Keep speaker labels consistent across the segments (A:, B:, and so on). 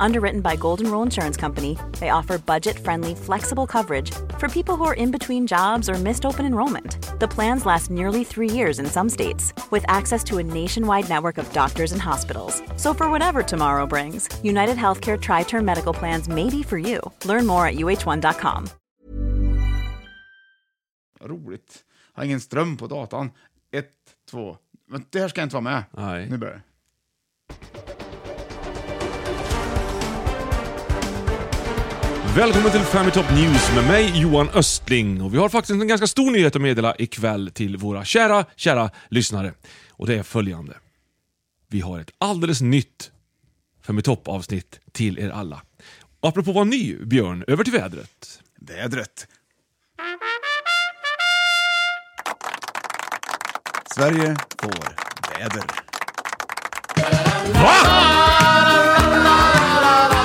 A: Underwritten by Golden Rule Insurance Company, they offer budget friendly, flexible coverage for people who are in between jobs or missed open enrollment. The plans last nearly three years in some states, with access to a nationwide network of doctors and hospitals. So, for whatever tomorrow brings, United Healthcare Tri Term Medical Plans may be for you. Learn more at uh1.com.
B: Roligt. Har ingen ström på datan. Ett, två. Men det här ska jag inte vara med.
C: Nej.
B: Nu börjar det.
C: Välkommen till Family Top News med mig Johan Östling. Och vi har faktiskt en ganska stor nyhet att meddela ikväll till våra kära, kära lyssnare. Och det är följande. Vi har ett alldeles nytt Family Top-avsnitt till er alla. Och apropå vad ny, Björn, över till vädret.
B: Vädret. Sverige får väder.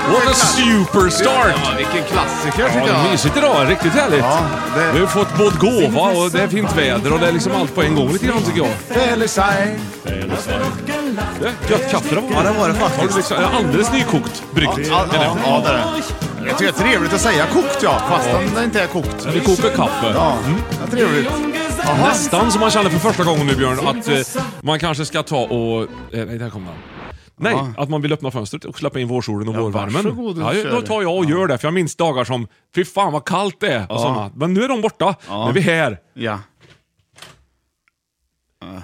C: What a superstart!
B: vilken klassiker
C: Ja,
B: tycker jag.
C: mysigt idag. Riktigt härligt.
B: Ja, det-
C: Vi har fått både gåva och det är fint väder och det är liksom allt på en gång lite grann tycker jag.
B: Felisaj.
C: Det är Gött kaffe det var.
B: Ja, det var det faktiskt.
C: Har du liksom, är alldeles nykokt, bryggt.
B: Ja, ja, ja, det är det. Jag tycker det är trevligt att säga kokt, ja. Fastän det inte är kokt.
C: Vi kokar kaffe.
B: Ja, det är trevligt. Jaha.
C: Nästan som man känner för första gången nu Björn, att eh, man kanske ska ta och... Eh, nej, där kom den. Nej, att man vill öppna fönstret och släppa in vårsolen och vårvärmen.
B: varsågod och
C: ja, ju,
B: kör.
C: då tar jag och gör det, för jag minns dagar som fy fan vad kallt det är och såna. Men nu är de borta. Nu är vi här.
B: Ja.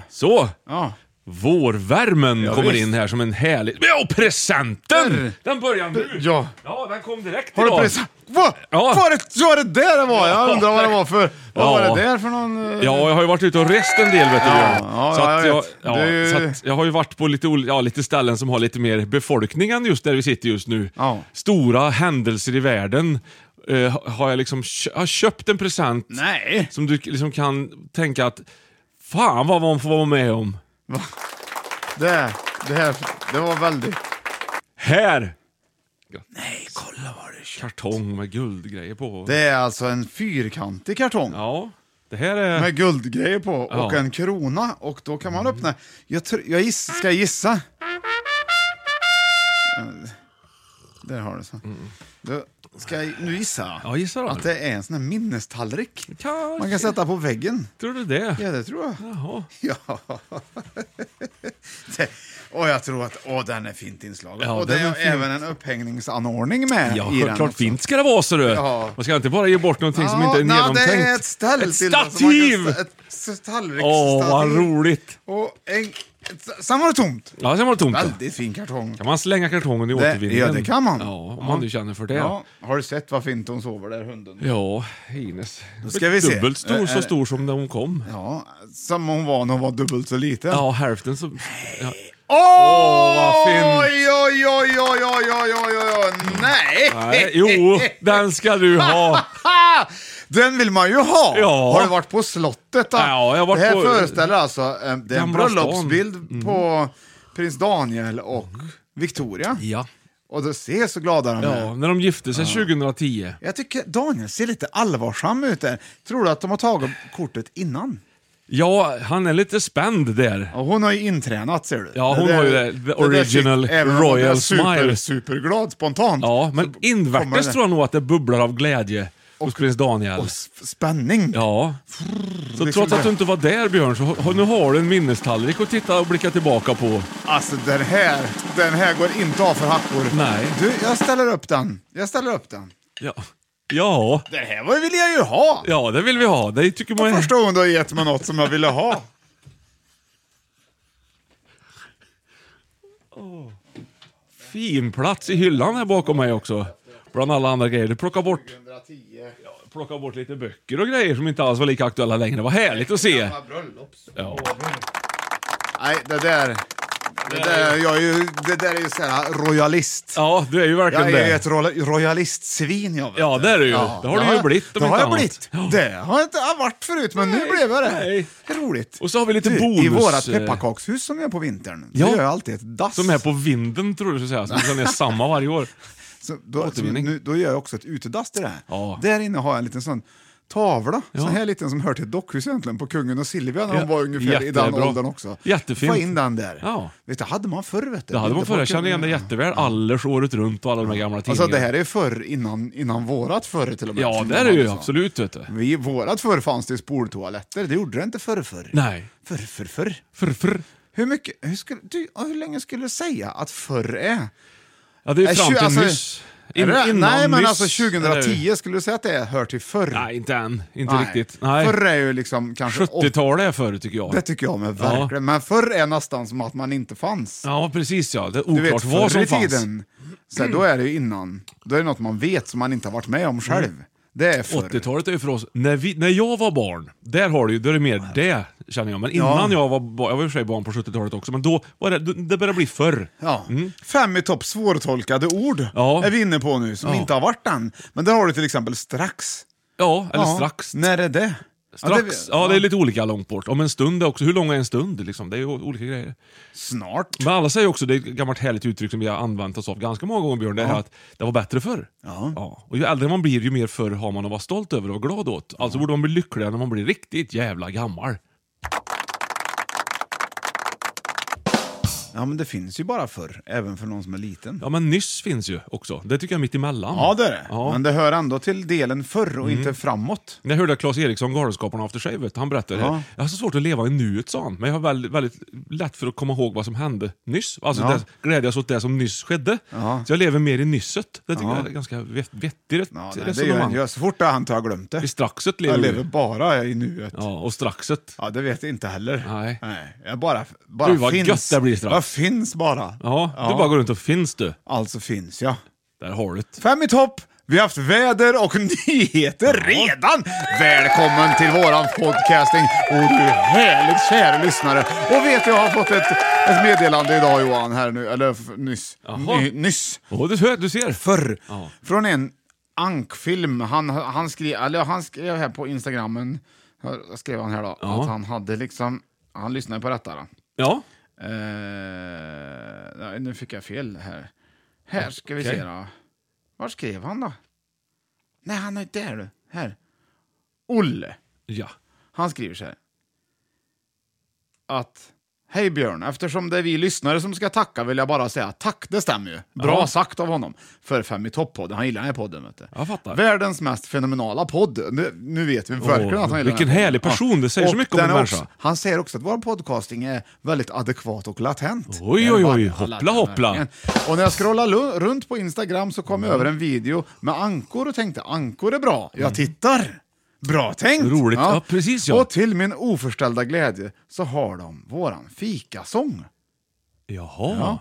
C: Så!
B: Ja.
C: Vårvärmen
B: Ja,
C: kommer
B: visst.
C: in här som en härlig... Ja, presenten!
B: Där.
C: Den börjar nu!
B: Ja.
C: Ja, den kom direkt
B: Har du
C: idag.
B: pressat? Va?
C: Ja.
B: Var, det, var det där det var? Jag undrar vad det var för... Vad
C: Ja.
B: var det där för någon... eh,
C: Ja, jag har ju varit ute och rest en del vet du Björn.
B: ja,
C: så att
B: jag
C: jag,
B: vet.
C: ja,
B: Det är ju-
C: så att jag har ju varit på lite, ol- ja, lite ställen som har lite mer befolkning än just där vi sitter just nu.
B: Ja.
C: Stora händelser i världen. eh, ha- har jag liksom kö- jag har köpt en present
B: Nej.
C: som du k- liksom kan tänka att fan vad man får vara med om.
B: Det, det här... Det var väldigt...
C: Här! Nej, kolla vad det är. Kartong med guldgrejer på.
B: Det är alltså en fyrkantig kartong.
C: Ja, det här är...
B: Med guldgrejer på och
C: Ja.
B: en krona och då kan man öppna. Jag, tr- jag giss- ska jag gissa. Eh, Där har du så. Då ska jag nu gissa
C: Mm. Ja, gissa då.
B: att det är en sån här minnestallrik.
C: Kanske.
B: Man kan sätta på väggen.
C: Tror du det?
B: Ja, det tror jag.
C: Jaha.
B: Ja. Det, och jag tror att åh, den är fint inslagen.
C: Ja,
B: och det
C: den
B: är,
C: är fint.
B: även en upphängningsanordning
C: Ja,
B: med i den.
C: självklart
B: också.
C: fint ska det vara så du.
B: Ja.
C: Man ska inte bara ge bort någonting som
B: Ja,
C: inte är
B: nej,
C: genomtänkt.
B: Det är ett ställ
C: Ett
B: till. alltså, man kan
C: stativ!
B: sta- Ett s- tallriksstativ.
C: Åh, vad roligt!
B: Och en, ett, sen var det tomt.
C: Ja, sen var det tomt. då.
B: Väldigt fin kartong.
C: Kan man slänga kartongen i återvinningen?
B: ja, det kan man.
C: Ja, om
B: Ja.
C: man nu känner för det. Ja,
B: Ja, har du sett vad fint hon sover där, hunden?
C: Ines. Då
B: ska vi se.
C: Dubbelt stor,
B: Eh,
C: så
B: eh.
C: stor som när hon kom.
B: Ja, som hon var när hon var dubbelt så liten.
C: Ja, hälften så... Ja.
B: Åh,
C: vad fint.
B: Oj, oj, oj, oj, oj, oj, oj, oj, oj, nej!
C: Nej, jo, den ska du ha!
B: Den vill man ju ha!
C: Ja.
B: Har du varit på slottet? Då?
C: Ja, jag har varit
B: det här
C: på-
B: föreställer alltså eh, det är en
C: Gamla stan. Mm.
B: bröllopsbild på prins Daniel och Victoria.
C: Ja.
B: Och då ser så glada de
C: ja,
B: är.
C: när de gifte sig 2010.
B: Jag tycker Daniel ser lite allvarsam ut där. Tror du att de har tagit kortet innan?
C: Ja, han är lite spänd där.
B: Ja, hon har ju intränat ser du.
C: Ja, hon har ju det- the original
B: där fick- även om hon
C: royal
B: är super,
C: smile.
B: Superglad spontant.
C: Ja, men
B: så kommer
C: invärtes
B: det-
C: tror jag nog att det bubblar av glädje hos prins Daniel.
B: Och s- spänning.
C: Ja. Så
B: liksom
C: trots att
B: det.
C: du inte var där Björn, så har- nu har du en minnestallrik att titta och blicka tillbaka på.
B: Alltså den här, den här går inte av för hackor.
C: Nej.
B: Du, jag ställer upp den. Jag ställer upp den.
C: Ja. Ja,
B: Det här var- vill jag ju ha!
C: ja, det vill vi ha. Det tycker man är...
B: Första gången du har gett mig något som jag ville ha.
C: Fin plats i hyllan här bakom mig också. Bland alla andra grejer. Du plockar bort,
B: 110.
C: plockar bort lite böcker och grejer som inte alls var lika aktuella längre. Vad härligt att se! Ja.
B: Nej, det där... Det där, jag är ju, det där är ju såhär royalist.
C: ja, du är ju verkligen
B: Jag
C: det.
B: är ju ett rola- royalistsvin jag vet
C: Ja, det är du ju. Det har du ju blivit, om
B: Det har
C: inte
B: jag
C: annat.
B: blivit. Det har jag inte varit förut, men nu blev jag det.
C: nej.
B: Det är roligt.
C: Och så har vi lite
B: du, I
C: bonus,
B: vårat
C: eh,
B: pepparkakshus som vi är på vintern,
C: Ja.
B: ja. gör jag alltid ett dass.
C: Som är på vinden, tror du skulle säga. Som är samma varje år.
B: Så då, som,
C: Återvinning.
B: nu, då gör jag också ett utedass till det här.
C: Ja.
B: Där inne har jag en liten sån tavla,
C: Ja.
B: sån här liten som hör till ett dockhus egentligen, på kungen och Silvia när
C: Ja,
B: de var ungefär i den
C: jättebra.
B: åldern också.
C: Jättefint.
B: Få in den där.
C: Ja.
B: Vet du, hade man förr vet du.
C: Det hade man
B: Inte
C: förr.
B: på
C: Jag känner igen det
B: kungen.
C: jätteväl. Allers året runt och alla de här gamla tidningarna.
B: Alltså det här är förr, innan, innan vårat förr till och med.
C: Ja,
B: som
C: det
B: de
C: är det ju.
B: hade så.
C: Absolut, vet du.
B: Vi, vårat förr fanns det ju spoltoaletter, det gjorde det inte förr förr.
C: Nej.
B: Förr, förr, förr.
C: Förr, förr.
B: Hur mycket, hur, skulle, du, ja, hur länge skulle du säga att förr är?
C: Ja, det är ju
B: Är
C: fram
B: tju-
C: till
B: alltså,
C: nyss.
B: Är
C: In-
B: det-
C: innan
B: Nej, men
C: nyss,
B: alltså
C: eller?
B: 2010 skulle du säga att det är hör till förr?
C: Nej, inte än. Inte riktigt. Nej.
B: Förr är ju liksom kanske...
C: 70-talet är före, tycker jag.
B: Det tycker jag med,
C: Ja.
B: verkligen. Men förr är nästan som att man inte fanns.
C: Ja, precis ja. Det är
B: du
C: oklart
B: vet,
C: vad
B: förr
C: som
B: i
C: fanns.
B: tiden, så här, då är det ju innan. Då är det något man vet som man inte har varit med om själv.
C: Mm.
B: Det är förr.
C: 80-talet är ju för oss, när, vi, när jag var barn, där har du ju, då är det mer det känner jag. Men innan jag var barn, jag var i och för sig barn på 70-talet också, men då var det, det började bli förr. Mm.
B: Ja. Fem i topp svårtolkade ord
C: Ja.
B: är vi inne på nu, som
C: Ja.
B: inte har varit än. Men där har du till exempel strax.
C: Ja, eller
B: Ja.
C: strax.
B: När är det?
C: Strax. Ja det,
B: det,
C: är lite olika långt bort. Om en stund är också, hur lång är en stund? Liksom? Det är ju olika grejer.
B: Snart.
C: Men alla säger också, det är ett gammalt härligt uttryck som vi har använt oss av ganska många gånger Björn, det är att det var bättre förr.
B: Ja.
C: Och ju äldre man blir, ju mer förr har man att vara stolt över och vara glad åt. Alltså borde man bli lyckligare när man blir riktigt jävla gammal.
B: Ja, men det finns ju bara förr, även för någon som är liten.
C: Ja men nyss finns ju också. Det tycker jag är mitt emellan.
B: Ja, det är det.
C: Ja. Mm.
B: Men det hör ändå till delen förr och inte framåt.
C: Jag hörde Claes Eriksson, Galenskaparna After Shave, vet du, han berättade
B: Ja.
C: det. Jag har så svårt att leva i nuet, sa han. Men jag har väldigt, väldigt lätt för att komma ihåg vad som hände nyss. Alltså
B: Ja.
C: det, glädjas åt det som nyss skedde.
B: Ja.
C: Så jag lever mer i nysset. Det tycker
B: Ja.
C: jag är ganska vet- vettigt
B: Ja, nej, det gör
C: resonemang.
B: jag inte. Så fort jag antar jag har glömt
C: I
B: det.
C: straxet lever,
B: Jag lever
C: du.
B: bara i nuet. Ja.
C: Ja, och straxet.
B: det vet jag inte heller.
C: Nej.
B: Jag bara, bara
C: Du, vad
B: finns.
C: gött det blir strax.
B: Jag finns bara.
C: Ja, du bara går runt och finns du.
B: Alltså finns jag.
C: Där har du det.
B: Fem i topp. Vi har haft väder och nyheter redan. Välkommen till våran podcasting. Och du härligt kära lyssnare. Och vet du, jag har fått ett, ett meddelande idag Johan, här nu, eller f- nyss.
C: Jaha.
B: Ny, nyss.
C: Åh, du ser, du ser.
B: förr.
C: Ja.
B: Från en ankfilm. Han, han, skrev, eller han skrev här på Instagrammen, här skrev han här då,
C: Ja.
B: att han hade liksom, han lyssnade på detta då.
C: Ja.
B: Eh, nej, nu fick jag fel här. Här ska vi
C: Okej.
B: se då. Var skrev han då? Nej, han är inte där du. Här. Olle.
C: Ja.
B: Han skriver så här. Att Hej Björn, eftersom det är vi lyssnare som ska tacka vill jag bara säga tack, det stämmer ju. Bra
C: Ja.
B: sagt av honom. För Fem i topp-podden, han gillar den här podden vet du.
C: Jag fattar.
B: Världens mest fenomenala podd. Nu, nu vet vi verkligen att han gillar
C: vilken
B: den här
C: härlig
B: podden.
C: person, det säger så
B: Och
C: mycket om en
B: den är
C: människa.
B: också- Han säger också att vår podcasting är väldigt adekvat och latent.
C: Oj,
B: Det är
C: oj,
B: bara-
C: oj. Hoppla, hoppla.
B: verkligen. Och när jag scrollade lu- runt på Instagram så kom jag
C: Mm.
B: över en video med ankor och tänkte ankor är bra. Jag tittar. Bra tänkt!
C: Roligt. Ja, precis, ja.
B: Och till min oförställda glädje så har de våran fikasång.
C: Jaha.
B: Ja.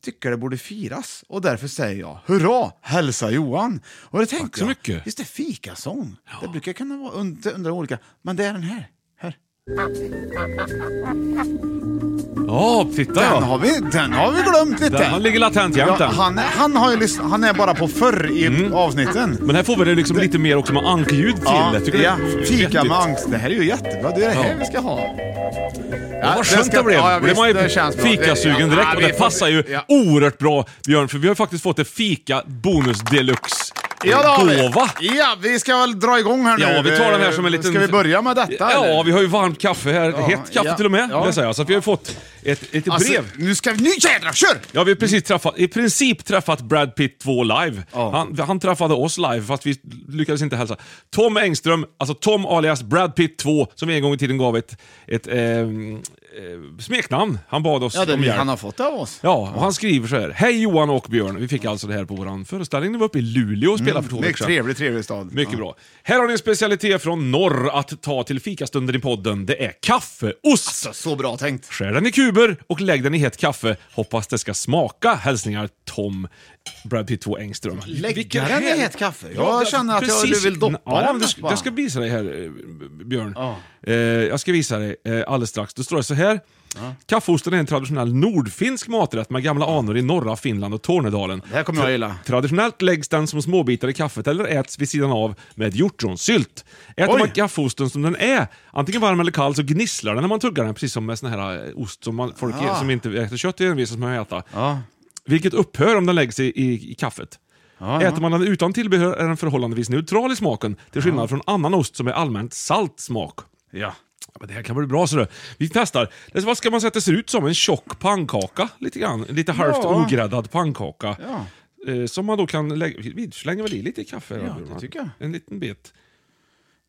B: Tycker det borde firas och därför säger jag hurra, hälsa Johan. Och det tänkte
C: så
B: jag,
C: mycket.
B: just det, fikasång. Det brukar kunna vara under, under olika, men det är den här. här.
C: Ja, titta
B: Den,
C: ja.
B: har vi, den har vi glömt lite.
C: Den ligger latent jämt Mm.
B: ja,
C: den.
B: han, han, har ju lyssn- han är bara på förr i avsnitten.
C: Men här får vi det liksom lite mer också med ankljud till.
B: Ja,
C: Jag tycker
B: ja.
C: det är
B: Fika
C: vettigt.
B: med angst. Det här är ju jättebra. Det är det här
C: Ja.
B: vi ska ha. Ja,
C: Ja, vad skönt det blev.
B: Ja, ja,
C: Då blir
B: visst,
C: man ju
B: det känns bra.
C: fikasugen
B: Ja,
C: direkt. Och
B: vi
C: det
B: får-
C: passar ju
B: Ja.
C: oerhört bra, Björn, för vi har ju faktiskt fått en fika bonus deluxe
B: Ja, det har
C: gåva.
B: vi. Ja, vi ska väl dra igång här nu. Eh,
C: Ja, vi tar den här som en liten...
B: Ska vi börja med detta?
C: Ja,
B: eller?
C: vi har ju varmt kaffe här.
B: Ja,
C: Hett kaffe
B: ja,
C: till och med,
B: ja.
C: vill jag säga. Så att vi har ju fått ett, ett
B: Alltså,
C: brev.
B: nu ska vi... Nu jädrar, kör!
C: Ja, vi har precis träffat, i princip träffat Brad Pitt 2 live.
B: Ja.
C: Han, han träffade oss live, fast vi lyckades inte hälsa. Tom Engström, alltså Tom alias Brad Pitt 2, som vi en gång i tiden gav ett, ett ehm, eh, smeknamn. Han bad oss
B: Ja, det
C: om hjälp.
B: han har fått det av oss.
C: Ja, och han skriver så här. Hej Johan och Björn. Vi fick alltså det här på våran föreställning. Det var uppe i Luleå och spelade för två veckor
B: Mm, Mycket
C: sedan.
B: trevlig, trevlig stad.
C: Mycket
B: Ja.
C: bra. Här har ni en specialitet från norr att ta till fikastunden i podden. Det är kaffeost.
B: Så bra tänkt.
C: Skär den i kuber och lägg den i hett kaffe. Hoppas det ska smaka. Hälsningar Tom Brad Pitt 2 Engström.
B: Lägga
C: Vilken
B: den i
C: härlig-
B: hett kaffe? Jag känner att jag-
C: precis.
B: du vill doppa
C: ja,
B: den
C: men Jag ska,
B: bara.
C: jag ska visa dig här, eh, Björn. Eh, jag ska visa dig eh, alldeles strax. Då står det så här. Kaffeosten är en traditionell nordfinsk maträtt med gamla anor i norra Finland och Tornedalen.
B: Det här kommer jag gilla.
C: Traditionellt läggs den som småbitar i kaffet eller äts vid sidan av med hjortronsylt. Äter
B: Oj.
C: man kaffeosten som den är, antingen varm eller kall, så gnisslar den när man tuggar den, precis som med sån här eh, ost som man, folk
B: Ah.
C: som inte äter kött envisas med att äta.
B: Ja.
C: Vilket upphör om den läggs i, i, i kaffet.
B: Ah,
C: Äter man den utan tillbehör är den förhållandevis neutral i smaken, till skillnad från annan ost som är allmänt salt smak.
B: Ja.
C: Ja, men det här kan bli bra ser du. Vi testar. Det, vad ska man säga att det ser ut som? En tjock pannkaka, lite grann. Lite halvt
B: Ja.
C: ogräddad pannkaka.
B: Ja.
C: Eh, som man då kan lägga... Vi slänger väl i lite kaffe? då,
B: Ja,
C: Björn,
B: det
C: va?
B: tycker jag.
C: En liten bit.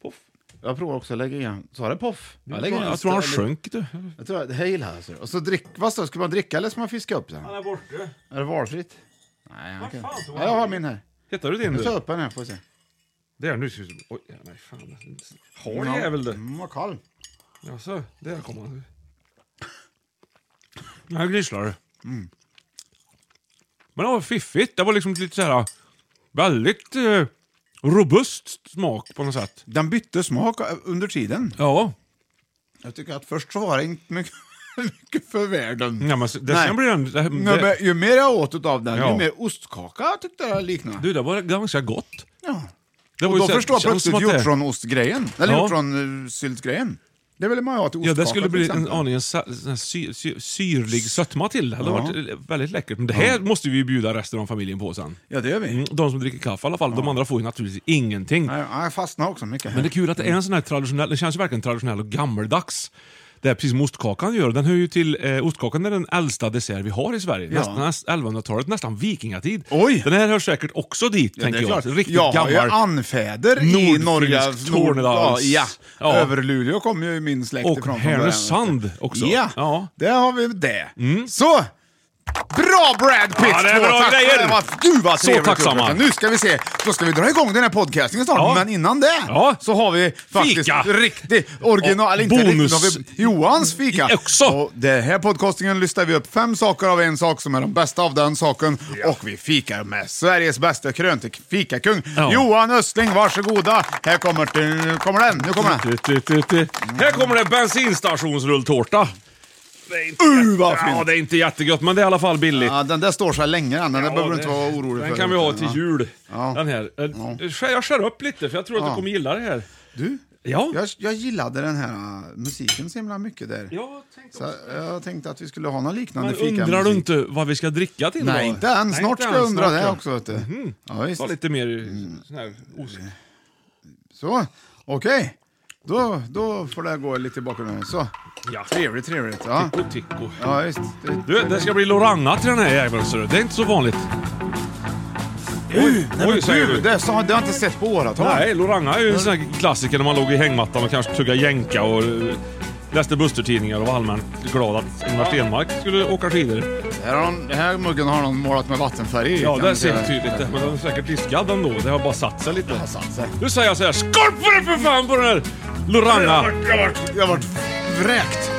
C: Poff.
B: Jag provar också att lägga igen. Sa det poff?
C: Jag,
B: lägger
C: tror,
B: in
C: jag
B: en
C: tror han alltså,
B: stor-
C: sjönk du.
B: Jag tror att det är hejl här. Ser. du. Och så drick, vad står det? Ska man dricka eller ska man fiska upp den?
C: är borta.
B: Är det valfritt? Nej, han kan...
C: fan tog
B: ja, jag har min här.
C: Hittar du din
B: Jag tar
C: du?
B: upp den här får vi se.
C: Där, nu ska vi... Oj, nej fan. Har jävel du.
B: Mm, vad kall.
C: Jaså, där kom han. Den här gnisslar det. Mm. Men det var fiffigt. Det var liksom lite så här väldigt eh, robust smak på något sätt.
B: Den bytte smak eh, under tiden.
C: Ja.
B: Jag tycker att först så var det inte mycket, mycket för världen.
C: ja men, det,
B: Nej.
C: sen blir den, det,
B: Nej,
C: det,
B: men ju mer jag åt av den,
C: Ja.
B: ju mer ostkaka jag tyckte jag liknade.
C: du, det var ganska gott.
B: Ja.
C: Det var
B: Och
C: ju
B: då
C: så här-
B: förstår jag
C: känns som
B: plötsligt
C: att det-
B: hjortronostgrejen, eller
C: Ja.
B: hjortronsyltgrejen. Det ville man ju ha till
C: Ja,
B: ostkaka
C: det skulle
B: till
C: bli en
B: exempel.
C: aningen sa- sån här sy, sy, syrlig sötma till. Det hade varit eh, väldigt läckert. Men det här måste vi ju bjuda resten av familjen på sen.
B: Ja, det gör vi.
C: Mm, De som dricker kaffe i alla fall. De andra får ju naturligtvis ingenting.
B: Nej, jag fastnade också mycket här.
C: Men det är kul att det är en sån här traditionell, det känns ju verkligen traditionell och gammeldags. Det är precis som ostkakan gör. Den hör ju till, eh, ostkakan är den äldsta dessert vi har i Sverige.
B: Ja.
C: Nästan näst- 1100-talet, nästan vikingatid.
B: Oj!
C: Den här hör säkert också dit,
B: Ja,
C: tänker
B: det är
C: jag.
B: klart.
C: Riktigt
B: jag har
C: gammal.
B: ju anfäder i
C: Nordfinsk
B: Norge.
C: Tornedals-
B: ja,
C: Ja.
B: ja. Över Luleå kommer ju min släkt
C: Och
B: ifrån. från
C: Härnösand
B: början.
C: också.
B: Ja,
C: Ja. Mm.
B: där har vi det. Så! Bra Brad Pitt!
C: Ja, det är
B: två.
C: bra
B: Tack för
C: grejer.
B: det. Vad- Gud vad
C: Så
B: trevligt
C: tacksamma.
B: gjort. Nu ska vi se, då ska vi dra igång den här podcastingen snart,
C: Ja.
B: men innan det
C: Ja.
B: så har vi faktiskt
C: Fika.
B: riktigt original,
C: Och
B: eller inte
C: bonus.
B: riktigt, då har vi Johans fika.
C: I- också.
B: Och den här podcastingen lyssnar vi upp fem saker av en sak som är de bästa av den saken och vi fikar med Sveriges bästa krönte fikakung,
C: Ja.
B: Johan Östling. Varsågoda, här kommer, nu kommer den, nu kommer den.
C: Du, du, du, du. Här kommer det bensinstationsrulltårta. Det är inte
B: Uh,
C: jätte-
B: vad fint.
C: Ja, det är inte jättegött, men det är i alla fall billigt.
B: Ja, den där står så här länge den, den där
C: Ja,
B: behöver du
C: det-
B: inte vara orolig för.
C: Den kan vi ha till
B: Ja.
C: jul.
B: Ja.
C: Den här. Eh, skär- Jag skär upp lite, för jag tror att du
B: Ja.
C: kommer gilla det här.
B: Du,
C: Ja.
B: jag, jag gillade den här äh, musiken så himla mycket där.
C: Jag tänkte
B: Så äh, jag tänkte att vi skulle ha någon liknande
C: Men
B: fika.
C: undrar du inte vad vi ska dricka till
B: Nej,
C: då?
B: inte än.
C: Nej,
B: Snart
C: inte
B: ska jag
C: än,
B: undra
C: snart,
B: det
C: ja.
B: också. Mm. Vet du. Ja, visst.
C: Ta lite mer eh, sån här os...
B: Så, okej. Då, då får det gå lite i bakgrunden. Så,
C: Ja.
B: trevligt, trevligt. Ja,
C: Tico, tico.
B: ja visst. Det,
C: Du, det ska bli Loranga till den här jäveln ser du. Det är inte så vanligt. Oj, oj säger
B: du,
C: du.
B: det, så, det har jag inte sett på åratal.
C: Nej, Loranga är ju en sån här klassiker när man låg i hängmattan och kanske tuggade jänka och eh, läste Buster-tidningar och var allmänt glad att Ingmar Stenmark skulle åka skidor.
B: Här har någon, den här muggen har någon målat med vattenfärg i,
C: Ja,
B: kan
C: det
B: man
C: ser
B: säga.
C: jag tydligt. Men den är säkert diskad ändå. Det har bara satt sig
B: Det
C: lite.
B: har satt sig.
C: Nu säger jag så här. Skål på dig för fan på den här Loranga!
B: Jag har varit, jag har varit vräkt.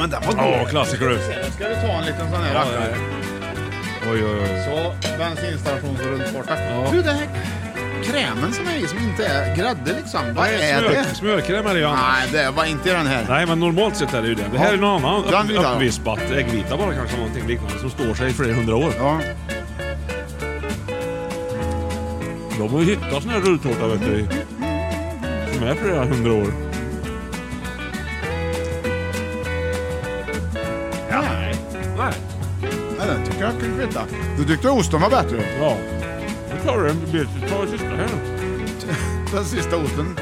B: Men den var god.
C: Ja, klassiker du.
B: Ska du ta en liten sån här rackare?
C: Oj, oj, oj.
B: Så, bensinstationsrulltårta.
C: Ja.
B: Du, den här krämen som är i, som inte är grädde liksom. Vad är
C: Smör,
B: det?
C: Smörkräm är det ja.
B: Nej, det var inte i den här.
C: Nej men normalt sett är det ju det. Det här är någon annan
B: Den vill jag ha.
C: upp- uppvispat äggvita bara kanske någonting liknande som står sig i flera hundra år.
B: Ja.
C: De har ju hittat såna här rulltårta vet du. Som är flera hundra år.
B: Nej.
C: Nej.
B: Nej, den tycker jag kunde veta. Du tyckte osten var bättre.
C: Ja. Nu klarar du en bit. Ta den sista här nu.
B: Den sista osten.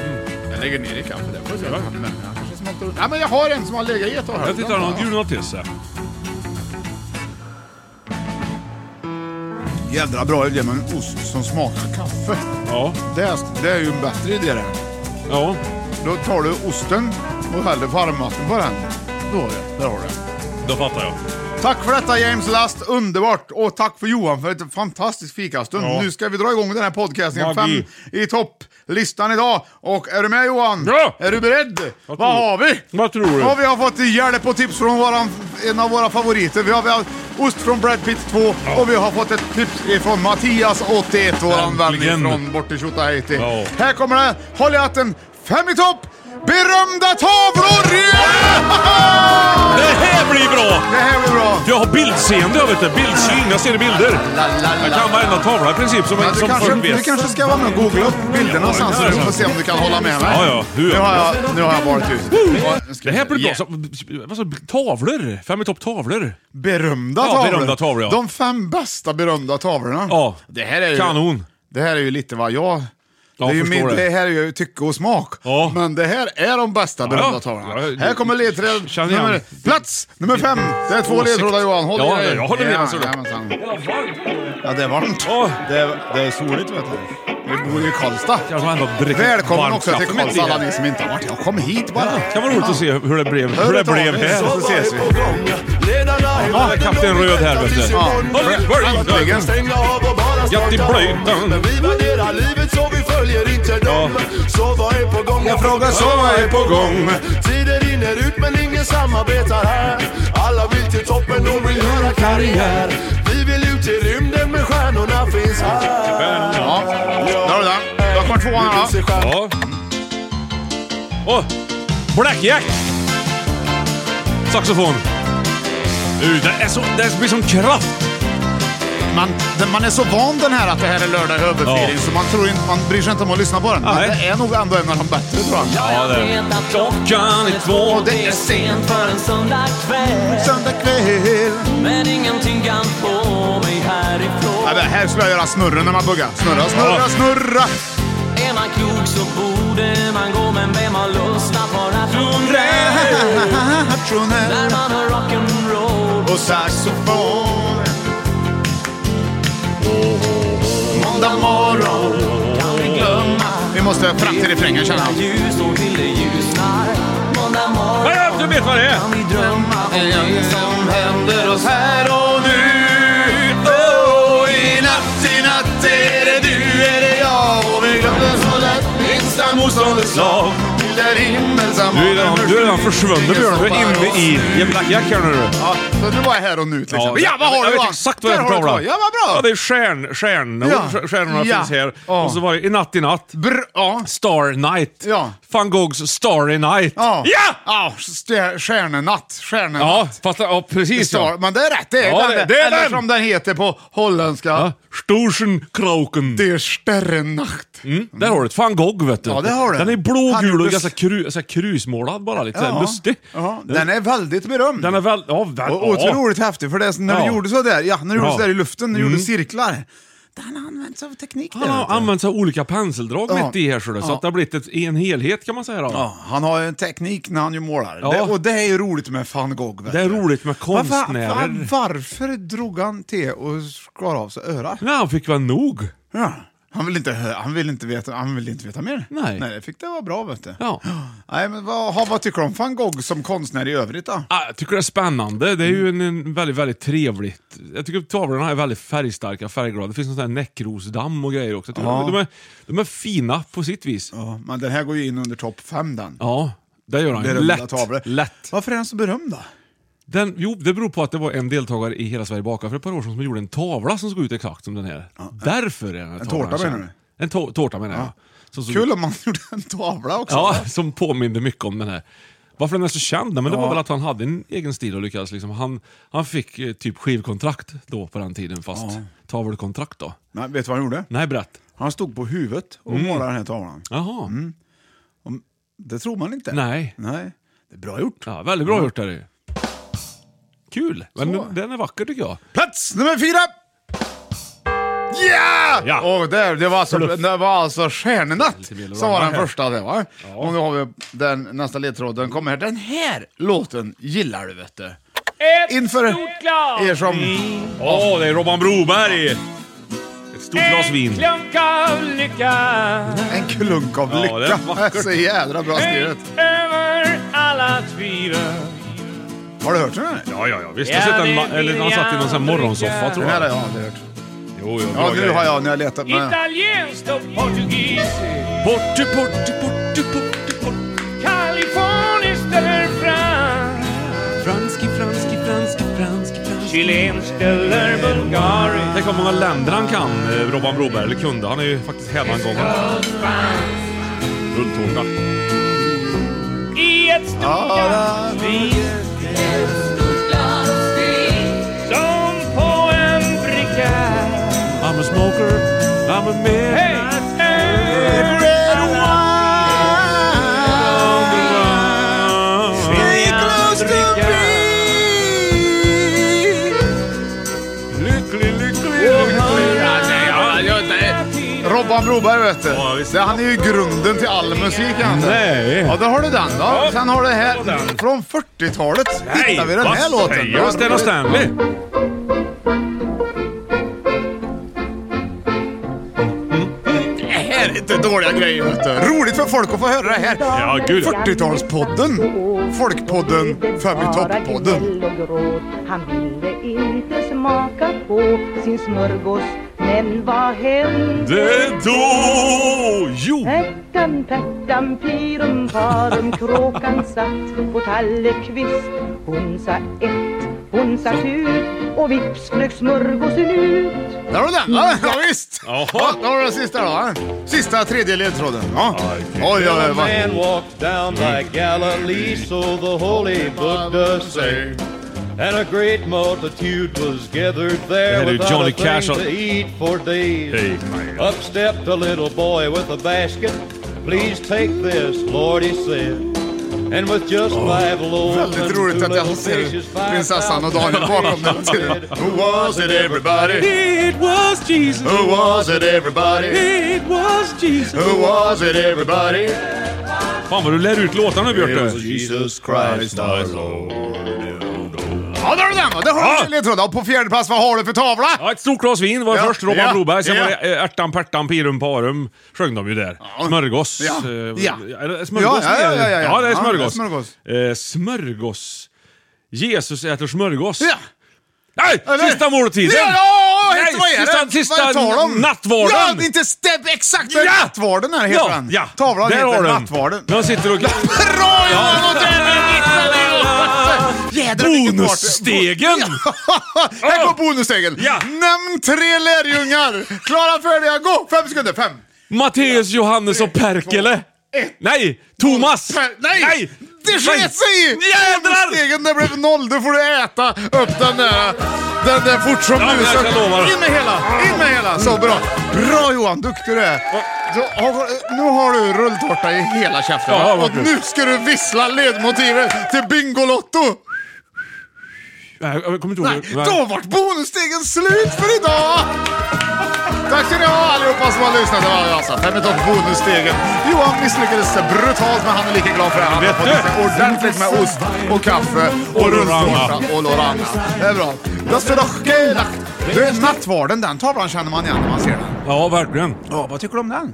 B: Jag lägger ner i kaffet. Jag får se.
C: Ja.
B: Mm. Men jag kanske smakar ut- Nej, men jag har en som har legat i ett tag. här.
C: Jag tittar om någon gulnar till sig.
B: Jädra bra idé med en ost som smakar kaffe.
C: Ja.
B: Det är, det är ju en bättre idé det.
C: Ja.
B: Då tar du osten och häller varmvatten på den. Då har du, där har du.
C: Då fattar jag.
B: Tack för detta James Last, underbart! Och tack för Johan för ett fantastiskt fikastund.
C: Ja.
B: Nu ska vi dra igång den här podcastingen,
C: Magi.
B: fem i topp-listan idag. Och är du med Johan?
C: Ja!
B: Är du beredd? Vad,
C: tror-
B: har vi?
C: vad tror du?
B: Ja, vi har fått hjälp och tips från våran, en av våra favoriter. Vi har, vi har ost från Brad Pitt 2 och vi har fått ett tips från Mattias 81, våran vän
C: Äntligen.
B: från borta i Tjotahejti.
C: Ja.
B: Här kommer det, håll i hatten, fem i topp! Berömda tavlor! Ja!
C: Det här blir bra!
B: Det här var bra!
C: Jag har bildseende, jag vet det. Bildsyn, jag ser bilder. Jag kan varenda tavla i princip som,
B: Men du,
C: som
B: kanske,
C: folk
B: du
C: vet.
B: kanske ska vara med och googla upp bilderna sen så du får se om du kan hålla med mig.
C: Ja, ja. Hur
B: Nu
C: gör
B: har jag, nu har jag varit ute. Ja, nu ska
C: Det här
B: vi se.
C: blir bra.
B: Yeah.
C: Så, vad sa du? tavlor? Fem i topp tavlor.
B: Berömda
C: Ja,
B: tavlor.
C: berömda tavlor, ja.
B: De fem bästa berömda tavlorna.
C: Ja.
B: Det här är ju,
C: Kanon.
B: Det här är ju lite vad jag...
C: Ja,
B: det, är ju
C: förstår det.
B: det här är ju tycke och smak.
C: Ja.
B: Men det här är de bästa berömda
C: ja.
B: tavlorna.
C: Ja, det-
B: här kommer ledtråd
C: känner igen.
B: nummer... Plats nummer fem. Det är två
C: Åsikt.
B: ledtrådar Johan. Håll
C: Ja,
B: i dig.
C: jag håller med,
B: Ja,
C: alltså.
B: jajamensan. ja, det är varmt.
C: Åh.
B: Det, är, det är soligt vet du. Vi bor i Karlstad.
C: Jag har ändå druckit
B: Välkommen
C: varmt
B: också till
C: kaffe mitt i
B: Karlstad
C: det.
B: alla ni som inte har varit. Jag kom hit bara.
C: Det kan vara roligt att se hur det blev,
B: Hör
C: hur det
B: ett av
C: blev
B: er,
C: här.
B: så ses vi.
C: Ja, det är kapten Röd här vet du.
B: Ja.
C: Äntligen!
B: Äntligen.
D: Stänga av och bara
C: Ja, till
D: starta om.
C: blöjtan.
D: Men vi värderar livet så vi följer inte dem Så vad är på gång? Jag
C: frågar så vad är på gång?
D: Tiden rinner ut men ingen samarbetar här Alla vill till toppen och vill göra karriär Vi vill ut i rymden men stjärnorna finns här
B: Ja, där har du den. Där kommer tvåan
D: Vi
B: här.
D: vill se stjärnor
C: Ja. Åh! Blackjack! Saxofon. Uh, det, är så, det blir sån kraft.
B: Man, den- man är så van den här att det här är lördag i överfeeling
C: Ja.
B: så man, tror inte, man bryr sig inte om att lyssna på den. Men
C: Nej.
B: det är nog ändå en av de bättre tror jag.
C: Ja, det är. Klockan är två.
B: Och det är
E: sent för en söndagkväll
B: söndag kväll.
E: Men ingenting kan få mig härifrån
B: Ja, det här skulle jag göra snurren när man buggar. Snurra,
C: Ja.
B: snurra, snurra.
E: Är man klok så borde man gå Men vem har lust att vara tondräll? När man hör rock'n'roll
B: Och saxofon. Måndag morgon.
E: kan vi glömma
B: Vi måste fram till refrängen känner jag.
E: Ljus och till det ljusnar Måndag morgon
C: Ja, Du vet vad det är!
E: kan vi drömma om det som händer oss
B: här och nu. Oh, i natt, i natt är det du, är det jag. Och vi glömde så lätt minsta motståndets lag. Till den himmelsam
C: Du är redan, du är redan försvunnen Björn. Du är inne i en blackjack här nu.
B: Ja, så du var här och nu till exempel. Ja, vad har
C: jag
B: du
C: vet
B: Johan?
C: exakt vad det är
B: Där
C: för
B: har du
C: tavla.
B: två. Ja, vad
C: Ja,
B: bra!
C: det är stjärn, stjärnor.
B: Ja.
C: Stjärnorna
B: Ja.
C: finns här.
B: Ja.
C: Och så var det I natt, i natt.
B: Br- ja.
C: Star Night.
B: Ja.
C: Van Goghs Starry Night.
B: Ja!
C: Ja!
B: ja st- stjärnenatt. Stjärnenatt.
C: Ja, fast, ja precis
B: Star,
C: ja.
B: men det är rätt, det är,
C: Ja,
B: den,
C: det- det är
B: Eller
C: den.
B: som den heter på holländska.
C: ja. Storsenkroken.
B: Det är Stjärnenacht.
C: Mm. Där har du ett van Gogh vet du.
B: Ja, det har du.
C: Den är
B: Han
C: blågul
B: gjorde
C: och
B: s-
C: ganska kru, så här krusmålad bara. Lite så här lustig.
B: Ja, den är väldigt berömd.
C: Den är väl... Ja, den,
B: Och otroligt häftig, för det, är så- när du
C: Ja.
B: gjorde sådär, ja, när du
C: Ja. Mm.
B: gjorde sådär i luften, när du gjorde cirklar. Den används av teknik där,
C: Han har
B: vet du.
C: använt sig av olika penseldrag
B: Ja.
C: mitt i här så, det, så
B: Ja.
C: att det har blivit ett, en helhet kan man säga. Då.
B: Ja, han har ju en teknik när han ju målar.
C: Ja.
B: Det, och det är ju roligt med van Gogh. vet
C: Det är
B: du.
C: roligt med
B: Va- va-
C: konstnärer.
B: va- varför drog han till och skar av sig örat?
C: Nej, han fick väl nog.
B: Ja. Han vill, inte, hö- han, vill inte veta, han vill inte veta mer.
C: Nej.
B: Nej, det fick det vara bra vet du.
C: Ja.
B: Nej, men vad, ha, vad tycker du om van Gogh som konstnär i övrigt då?
C: Ah, Jag tycker det är spännande. Det är ju en, en väldigt, väldigt trevligt. Jag tycker tavlorna är väldigt färgstarka, färgglada. Det finns någon sån här näckrosdamm och grejer också. Jag tycker de, är, de är fina på sitt vis. Ja,
B: Ja, men den här går ju in under topp fem den.
C: det gör han. ju.
B: Berömda
C: Lätt.
B: tavlor.
C: Lätt. Mm.
B: Varför är den så berömd då?
C: Den, jo, det beror på att det var en deltagare i Hela Sverige bakar för ett par år sedan som gjorde en tavla som såg ut exakt som den här. Därför är den här
B: En
C: tavlan
B: tårta
C: känd.
B: menar
C: En tå- tårta menar jag. Som såg
B: Kul om man gjorde en tavla också.
C: Ja, som påminner mycket om den här. Varför den är så känd? Nej, Men Det var väl att han hade en egen stil och lyckades liksom. Han, han fick eh, typ skivkontrakt då på den tiden, fast tavelkontrakt då.
B: Nej, vet du vad han gjorde?
C: Nej, berätt.
B: Han stod på huvudet och
C: Mm.
B: målade den här tavlan.
C: Jaha.
B: Mm. Det tror man inte.
C: Nej.
B: Nej. Det är bra gjort.
C: Ja, väldigt bra gjort är det ju. Kul! Men den- den är vacker tycker jag.
B: Plats nummer fyra! Yeah!
C: Ja.
B: Och där, det, var alltså,
C: Bluff.
B: det var alltså Stjärnenatt
C: Sibyl
B: som var den
C: Ramar här.
B: första. Det, va? Och nu har vi den, nästa ledtråd. Den kommer här. Den här låten gillar du vet du. Inför er som...
C: Åh, oh, det är Robban Broberg! Ett stort glas vin.
B: En klunk av
C: Ja,
B: lycka.
C: det är vackert.
B: så jädra bra skrivet.
F: Över alla tvivel
B: Har du hört den här?
C: Ja, ja, ja. Visst.
E: Ja,
C: jag har sett den,
E: det
C: ma- eller den har satt i någon sån här morgonsoffa, tror
B: Den här
C: jag.
B: har jag aldrig hört.
C: Jo, jo,
B: Ja,
C: bra
B: nu
C: grej.
B: har jag, när jag letat. Men...
F: Italienskt och portugisiskt,
C: Portu, portu, portu, portu, portu.
F: kaliforniskt eller franskt,
C: Franski, franski, franski, franski, franski.
F: chilenskt eller bulgariskt.
C: Tänk vad många länder han kan, eh, Robban Broberg. Eller kunde. Han är ju faktiskt hädangångare. Rulltårta.
F: I ett stort glas vin som på en bricka.
C: I'm a smoker, I'm a man.
F: Hey!
B: Ah. Stay close to
C: Lycklig, lycklig, lycklig.
B: Robban Broberg vet du.
C: Ja, visst.
B: Det- Han är ju grunden till all musik han.
C: Nej.
B: Ja, då har du den då. Sen har du här,
C: den.
B: från 40-talet hittar vi den
C: vad
B: här låten.
C: säger jag? Sten och Stanley.
B: Det här är inte dåliga grejer vet du. Roligt för folk att få höra det här.
C: Ja, gud.
B: 40-talspodden. Folkpodden. Fem i topp-podden.
G: Han ville inte smaka på sin smörgås Men vad hände?
C: Det då! Jo!
G: Pärtan, pärtan, pirum, parum, kråkan satt på tallekvist Hon sa ett, hon sa tu och vips flög smörgåsen ut
B: Där har du den. Ja, ja visst.
C: Jaha.
B: Ja, då har du den sista då. va? Sista tredje ledtråden. Ja. Oj, oj, oj. vad-
D: Man walked down by Galilee, so the holy book does say. And a great multitude was gathered there
C: Yeah, dude,
D: without
C: Johnny
D: a thing
C: Cash on-
D: to eat for days.
C: Hey, man.
D: Up stepped a little boy with a basket. Please take this, Lord, he said. And with just five loaves and
B: Oh. Väldigt
D: two
B: roligt att
D: little
B: jag
D: fishes,
B: ser
D: five
B: prinsessan och Daniel bakom den hela tiden. Who was it everybody?
C: It was Jesus.
B: Who was it everybody?
C: It was Jesus.
B: Who was it everybody?
C: Fan vad du lär ut låtarna nu,
D: It was
C: Björte.
D: Jesus Christ our Lord.
B: Ja, där har du den va! Där har du
C: Ja.
B: en ledtråd. Och på fjärde plats, vad har du för tavla?
C: Ja, ett stort glas vin var
B: Ja,
C: först Robban
B: ja,
C: Broberg, sen
B: ja.
C: var det eh, ärtan, pärtan, pirum, parum. Sjöng de ju där.
B: Ja.
C: Smörgås.
B: Ja,
C: eh,
B: ja.
C: Är det smörgås?
B: Ja, ja, ja, ja, ja.
C: ja, det är
B: Ja,
C: smörgås.
B: det är smörgås.
C: Eh, smörgås. Jesus äter smörgås.
B: Ja!
C: Nej!
B: Eller?
C: Sista måltiden!
B: Ja, ja,
C: Nej,
B: helt vad är
C: sista,
B: det?
C: sista
B: vad talar om?
C: nattvarden!
B: Ja, inte stäpp exakt vad
C: Ja!
B: nattvarden är heter
C: ja,
B: den.
C: ja.
B: Tavlan
C: Där har
B: heter
C: du den.
B: nattvarden.
C: De sitter och...
B: Bra Johan! och där Jädrar, vilken fart.
C: Bonusstegen!
B: Här går bonusstegen.
C: Ja.
B: Nämn tre lärjungar. Klara, färdiga, gå! Fem sekunder. Fem.
C: Matteus, Johannes och Perkele! Nej! Thomas!
B: Per- Nej! Det sket sig i!
C: Jädrar!
B: Stegen, det blev noll. Då får du äta upp den där, den där fort som
C: Ja, men jag
B: musen.
C: kan lova det.
B: In med hela, in med hela. Så bra. Bra Johan, duktig du är. Du har, nu har du rulltårta i hela käften.
C: Ja,
B: och
C: vad kul.
B: nu ska du vissla ledmotivet till Bingolotto.
C: Nej, Jag kommer inte
B: Nej,
C: ihåg. Nej.
B: då vart bonusstegen slut för idag! Tack ska ni ha allihopa som har lyssnat. Det var alltså Fem i topp bonusstegen. Johan misslyckades brutalt men han är lika glad för det. Han har
C: Vet
B: fått
C: du?
B: i sig ordentligt med ost och kaffe och
C: Och
B: rulltårta
C: Lorana.
B: och Lorana. Det är bra. Das för dock- Du, nattvarden, den tavlan känner man igen när man ser den.
C: Ja, verkligen.
B: Ja, vad tycker du om den?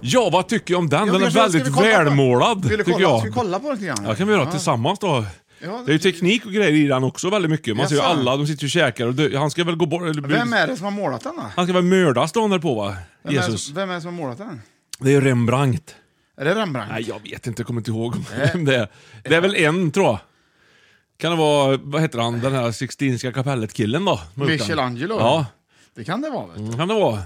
C: Ja, vad tycker jag om den? Den är väldigt välmålad, tycker
B: Ska vi
C: jag.
B: kolla på den lite grann?
C: Ja, kan vi göra tillsammans då.
B: Ja,
C: Det är ju teknik och grejer i den också väldigt mycket. Man ser ju
B: Jaså?
C: alla, de sitter ju och käkar och dö- han ska väl gå bort... eller bli-
B: Vem är det som har målat den då?
C: Han ska väl mördas dagen därpå va?
B: Vem är, det
C: Jesus.
B: som- vem är det som har målat den?
C: Det är ju Rembrandt.
B: Är det Rembrandt?
C: Nej, jag vet inte. Jag kommer inte ihåg vem det är. Det är väl en, tror jag. Kan det vara, vad heter han, den här Sixtinska kapellet-killen då?
B: Michelangelo?
C: Ja,
B: Det kan det vara. Vet du.
C: kan det vara.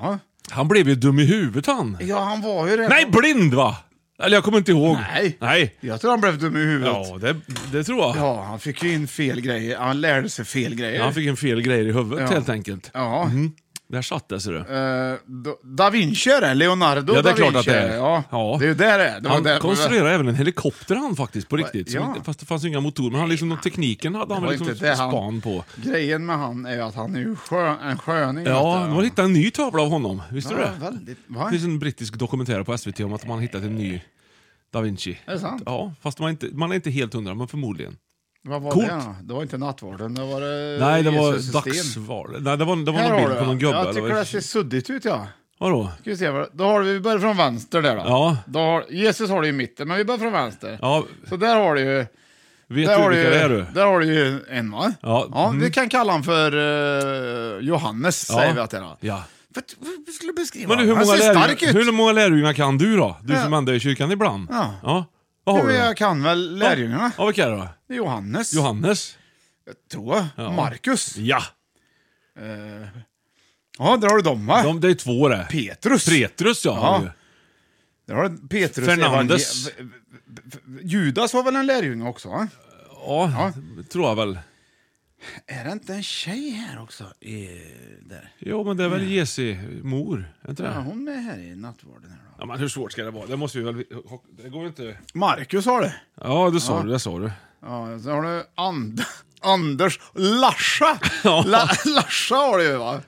B: Ja.
C: Han blev ju dum i huvudet han.
B: Ja, han var ju det.
C: Nej, blind va? Eller jag kommer inte ihåg.
B: Nej.
C: Nej.
B: Jag tror han blev dum i huvudet. Ja.
C: Ja, det, det tror jag.
B: han fick ju in fel grejer. Han lärde sig fel grejer.
C: Han fick en fel grej i huvudet
B: Ja.
C: helt enkelt.
B: Ja.
C: Mhm. Där satt det ser du.
B: Eh, da- da Vinci är det. Leonardo
C: Ja, det är
B: da Vinci.
C: klart att det är.
B: Ja.
C: Ja.
B: Det är ju där det är. Det var
C: Han
B: där-
C: konstruerade även en helikopter han faktiskt på riktigt. Som
B: Ja.
C: inte, fast det fanns ju inga motorer, men han liksom, den tekniken hade han
B: Det
C: väl
B: var
C: liksom
B: inte det han-
C: span på.
B: Grejen med han är ju att han är ju skön, en sköning.
C: Ja,
B: vet
C: de
B: du.
C: har hittat en ny tavla av honom. Visste du
B: ja,
C: det?
B: väldigt.
C: Det
B: Va?
C: finns en brittisk dokumentär på SVT om att man har hittat en ny da Vinci.
B: Är det sant?
C: Ja, fast man är inte, man är inte helt hundra, men förmodligen.
B: Vad var
C: Coolt.
B: det då? Det var inte nattvarden, det var det
C: Nej, det
B: Jesus
C: var
B: sten.
C: dagsval. Nej, det var, det var
B: Här
C: någon
B: har
C: bild på någon
B: du
C: gubbe.
B: det. Jag
C: eller
B: tycker
C: vad-
B: det ser suddigt ut ja.
C: Vadå?
B: Ska vi se, vad- då har vi, vi börjar från vänster där då.
C: Ja.
B: då har, Jesus har du i mitten, men vi börjar från vänster.
C: Ja,
B: Så där har du ju
C: Vet
B: Där
C: du
B: har, du,
C: vilka det är
B: ju-
C: du?
B: där har du ju en va?
C: Ja. Mm.
B: Vi kan kalla honom för eh, Johannes, säger vi att det är. då.
C: Ja.
B: För att- Vi skulle beskriva
C: Men du, hur,
B: honom.
C: många
B: Han ser stark
C: lärjungar,
B: ut.
C: hur många lärjungar kan du då? Du
B: Ja.
C: som ändå är i kyrkan ibland.
B: Ja.
C: Vad har
B: Jo,
C: du då?
B: jag kan väl lärjungarna.
C: Ja, vilka är det då?
B: Det är Johannes.
C: Johannes?
B: Tror jag. Markus.
C: Ja!
B: Eh, Ja, där har du dem va?
C: De, det är två det.
B: Petrus.
C: Petrus ja. har
B: Ja.
C: du.
B: Där har du Petrus.
C: Fernandes.
B: evangel- v- v- v- Judas var väl en lärjunge också va?
C: Ja, tror jag väl.
B: Är det inte en tjej här också? I, där.
C: Jo, men det är väl Jesi mor? Är inte det?
B: Ja,
C: Ja.
B: hon är här i nattvarden. Här, då.
C: men hur svårt ska det vara? Det måste vi väl... Det går ju inte...
B: Marcus har det.
C: Ja, det sa du. Det sa du.
B: Ja, sen har du And Anders Larsa. La Larsa har du ju va?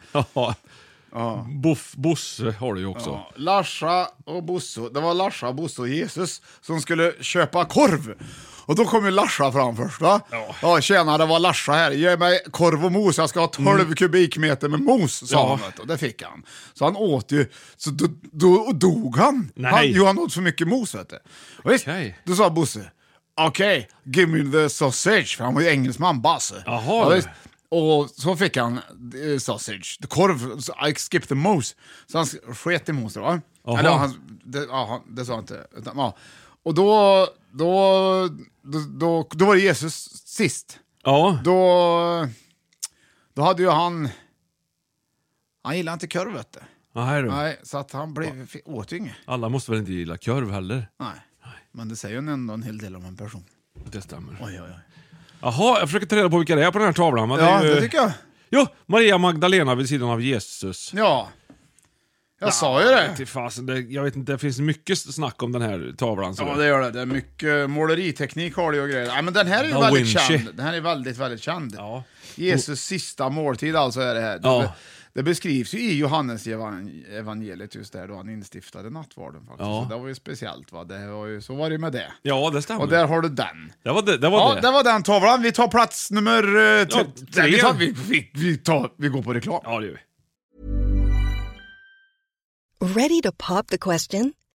C: Ja. Boff, Bosse har du ju också.
B: Ja, Larsa och Bosse, det var Larsa, Bosse och Jesus som skulle köpa korv. Och då kom ju Larsa fram först va?
C: Ja.
B: ja tjena, det var Larsa här. Ge mig korv och mos, jag ska ha 12 kubikmeter med mos, sa
C: Mm. Ja.
B: han. vet du. Och det fick han. Så han åt ju, så då, då dog han.
C: Nej.
B: han. Jo, han åt för mycket mos vet du. Och visst,
C: Okej.
B: då sa Bosse, okej, give me the sausage, för han var ju engelsman, Basse.
C: Jaha.
B: Ja, visst. Och så fick han eh, sausage, korv, så I skipped the mos. Så han sk- sket i moset va?
C: Jaha.
B: Eller ja, han, det, ja, han, det sa han inte. Utan, ja. Och då, då, då, då, då var det Jesus sist.
C: Ja.
B: Då, då hade ju han, han gillade inte korv vet du.
C: Nej du.
B: Nej, så att han blev, fi- åt ju inget.
C: Alla måste väl inte gilla korv heller?
B: Nej. Men det säger ju ändå en hel del om en person.
C: Det stämmer.
B: Oj, oj, oj.
C: Jaha, jag försöker ta reda på vilka det är på den här tavlan. men
B: Ja,
C: är ju-
B: det tycker jag.
C: Jo, Maria Magdalena vid sidan av Jesus.
B: Ja. Jag sa ju det.
C: Till fasen, det, jag vet inte, det finns mycket snack om den här tavlan. Så
B: Ja, det gör det. Det är mycket måleriteknik har det och grejer. Nej, men den här är ju
C: Da
B: väldigt
C: Vinci.
B: känd. Den här är väldigt, väldigt känd.
C: Ja.
B: Jesus sista måltid alltså är det här. Det,
C: Ja.
B: det beskrivs ju i Johannes evan- evangeliet just där då han instiftade nattvarden. Faktiskt.
C: Ja.
B: Så det var ju speciellt. Va? Det var ju, så var det med det.
C: Ja, det stämmer.
B: Och där har du den.
C: Det var det. det, var
B: Ja,
C: det.
B: det var den tavlan. Vi tar plats nummer... eh,
C: Ja,
B: tre.
C: tre.
B: Nej, vi, tar, vi, vi, vi, tar, vi går på reklam.
C: ja, det gör vi.
H: Ready to pop the question?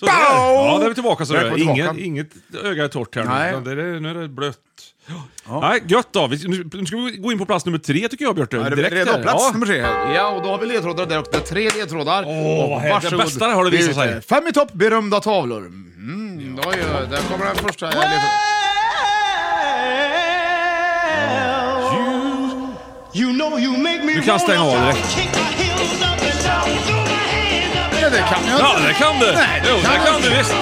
C: Så där. Ja, där är vi tillbaka. Så
B: Där
C: där.
B: kom
C: Inget,
B: tillbaka.
C: inget öga är torrt här
B: Nej.
C: nu. utan Det är, nu är det blött. Nej, gött då. Vi, nu, nu ska vi gå in på plats nummer tre tycker jag, Björte.
B: Ja, det
C: Direkt
B: är redan
C: här.
B: plats
C: Ja.
B: nummer tre. Ja, och då har vi ledtrådar där också. Det är tre ledtrådar.
C: Åh,
B: Och
C: vad härligt.
B: varsågod.
C: Det bästa har det visat
B: är
C: sig.
B: lite Fem i topp, berömda tavlor. Mm, då ju, där kommer den första ledtråden.
C: Du kan stänga av direkt.
B: Ja, det kan jag
C: Ja, det kan du.
B: Nej, det
C: jo, det
B: kan
C: kan du
B: jag
C: visst.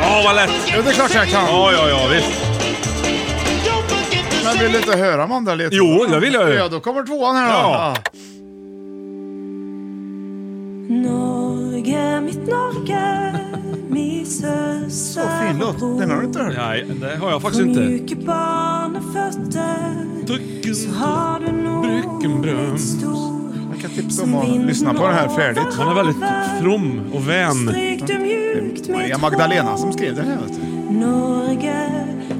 C: Ja, vad lätt.
B: Jo, det är klart jag kan.
C: Ja, ja, ja, visst.
B: Men vill du inte höra de andra ledtrådarna?
C: Jo, det vill jag ju.
B: Ja, då kommer tvåan här då.
C: Ja.
I: Norge, mitt Norge, min søster
B: Så fin låt. Den har du inte hört.
C: Nej, det har jag faktiskt inte.
I: Mycket barnefötter
C: Tucken,
I: har du nog
C: Bruken bröms.
I: stor.
B: Jag kan tipsa om att lyssna på den här färdigt.
C: Han är väldigt from och vän.
I: Stryk du mjukt med
B: Maria Magdalena som skrev den här vet du.
I: Norge,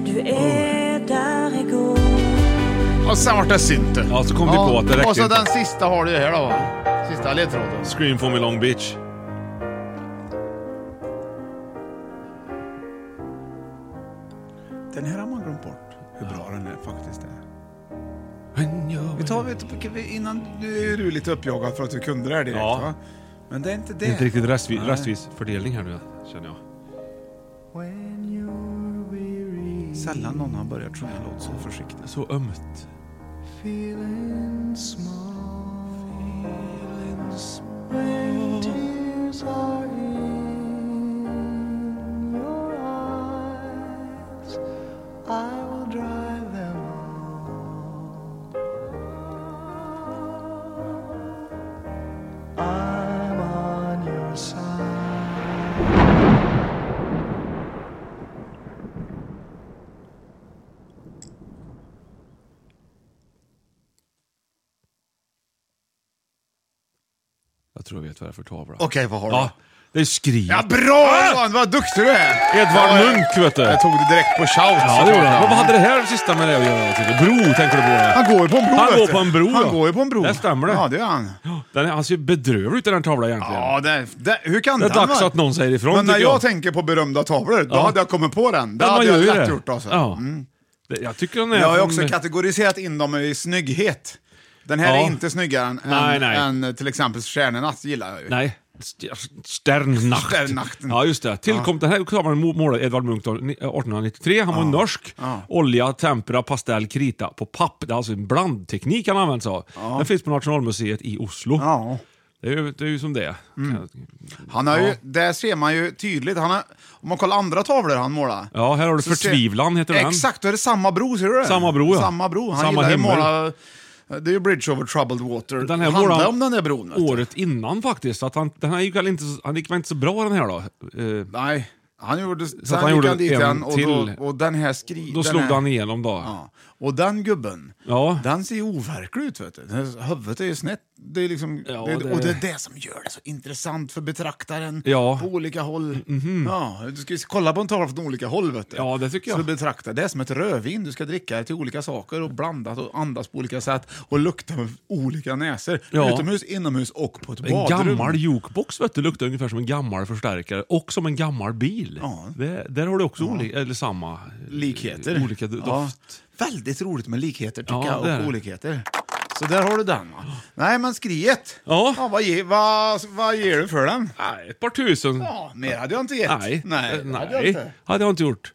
I: du er der jeg går.
B: Och sen vart det synte.
C: Ja, så kom vi på att det räckte
B: Och så
C: inte.
B: den sista har du ju här då va? Sista ledtråden.
C: Scream for me long beach.
J: Den här har man glömt bort hur bra den är faktiskt. Är. Vi tar, vi, vi- innan, nu är du lite uppjagad för att du kunde det här direkt
C: Ja.
J: va? Men det är inte det.
C: Det är inte riktigt restvi-
J: Nej.
C: rättvis fördelning här nu, känner jag.
J: Sällan någon har börjat sjunga en låt så försiktigt.
C: Så ömt.
D: Feeling small, feeling small. When tears are in your eyes, I will dry them all. I'm on your side.
C: Jag tror jag vet vad det är för tavla.
B: Okej, vad har du?
C: Ja, det är Skri.
B: Ja, bra Johan! Vad duktig du är!
C: Ah! Edvard
B: Ja, jag-
C: Munch, vet du.
B: Jag tog det direkt på shout.
C: Ja, det gjorde han. Vad hade det här sista med det att göra? tycker du? Bro, tänker du på? det?
B: Han går ju på en bro.
C: Han
B: vet
C: går
B: du.
C: på en bro,
B: Han
C: ja.
B: går ju på en bro.
C: Där stämmer det.
B: Ja, det gör han.
C: Den, är- han ser ju bedrövlig ut i den tavlan egentligen.
B: Ja, det, det, hur kan
C: Det är
B: den
C: dags
B: vara?
C: att någon säger ifrån,
B: Men när
C: tycker
B: jag,
C: jag.
B: tänker på berömda tavlor, då
C: Ja.
B: hade jag kommit på den. Det
C: Ja, man
B: hade
C: gör
B: jag
C: ju
B: lätt
C: det.
B: gjort alltså.
C: Ja.
B: Mm.
C: Det- Jag tycker den är...
B: Jag har ju
C: från-
B: också kategoriserat in dem i snygghet. Den här
C: Ja.
B: är inte snyggare än,
C: Nej, nej.
B: än eh, till exempel Stjärnenatt gillar jag ju.
C: Nej. St- Sternnacht.
B: Sternnachten.
C: Ja, just det. Tillkom den här tavlan må- målade Edvard Munch då, ni- 1893. Han var norsk. Olja, tempera, pastell, krita på papp. Det är alltså en blandteknik han använt sig av. Den finns på Nationalmuseet i Oslo. Det, är ju, det är ju som det är.
B: Mm. Han har
C: Ja.
B: ju, där ser man ju tydligt, han har, om man kollar andra tavlor han målar.
C: Ja, här har du
B: så ser-
C: Förtvivlan, heter den.
B: Exakt, då är det samma bro, ser du det?
C: Samma bro, ja.
B: Samma bro. Han
C: Samma
B: gillar ju
C: himmel.
B: måla, det är ju Bridge over troubled water.
C: Den här
B: Handlar
C: målade
B: om den där bron. vet du.
C: året innan faktiskt. Så Att han, den här gick väl inte, så- han gick väl inte så bra den här då? Eh,
B: Nej, han gjorde,
C: Så
B: sen
C: att han
B: gick
C: gjorde
B: han dit
C: en
B: igen och, då,
C: till.
B: och den här skri...
C: då
B: den
C: slog
B: här,
C: han igenom då.
B: Ja. Och den gubben,
C: Ja.
B: den ser ju overklig ut vet du. Den- Huvudet är ju snett. Det är liksom,
C: Ja,
B: det,
C: det-
B: Och det är det som gör det så intressant för betraktaren
C: Ja. Mhm.
B: på olika håll. Ja, du ska ju kolla på en tavla från olika håll vet du.
C: Ja, det tycker
B: Så
C: jag.
B: du betraktar det är som ett rödvin. Du ska dricka det till olika saker och blandat och andas på olika sätt och lukta med olika näsor.
C: Ja.
B: Utomhus, inomhus och på ett
C: En
B: badrum.
C: gammal jukebox vet du, luktar ungefär som en gammal förstärkare och som en gammal bil. Det, där har du också oli- eller samma eh,
B: likheter.
C: Olika do-
B: Ja.
C: doft.
B: Väldigt roligt med likheter tycker
C: Ja,
B: jag,
C: det är det.
B: och olikheter. Så där har du den. va. Nej, men skriet.
C: Ja.
B: vad, ge, vad, vad ger du för den?
C: Nej, ett par tusen.
B: Ja, mer hade jag inte gett.
C: Nej,
B: Nej,
C: Eh,
B: det hade jag inte.
C: hade jag inte gjort.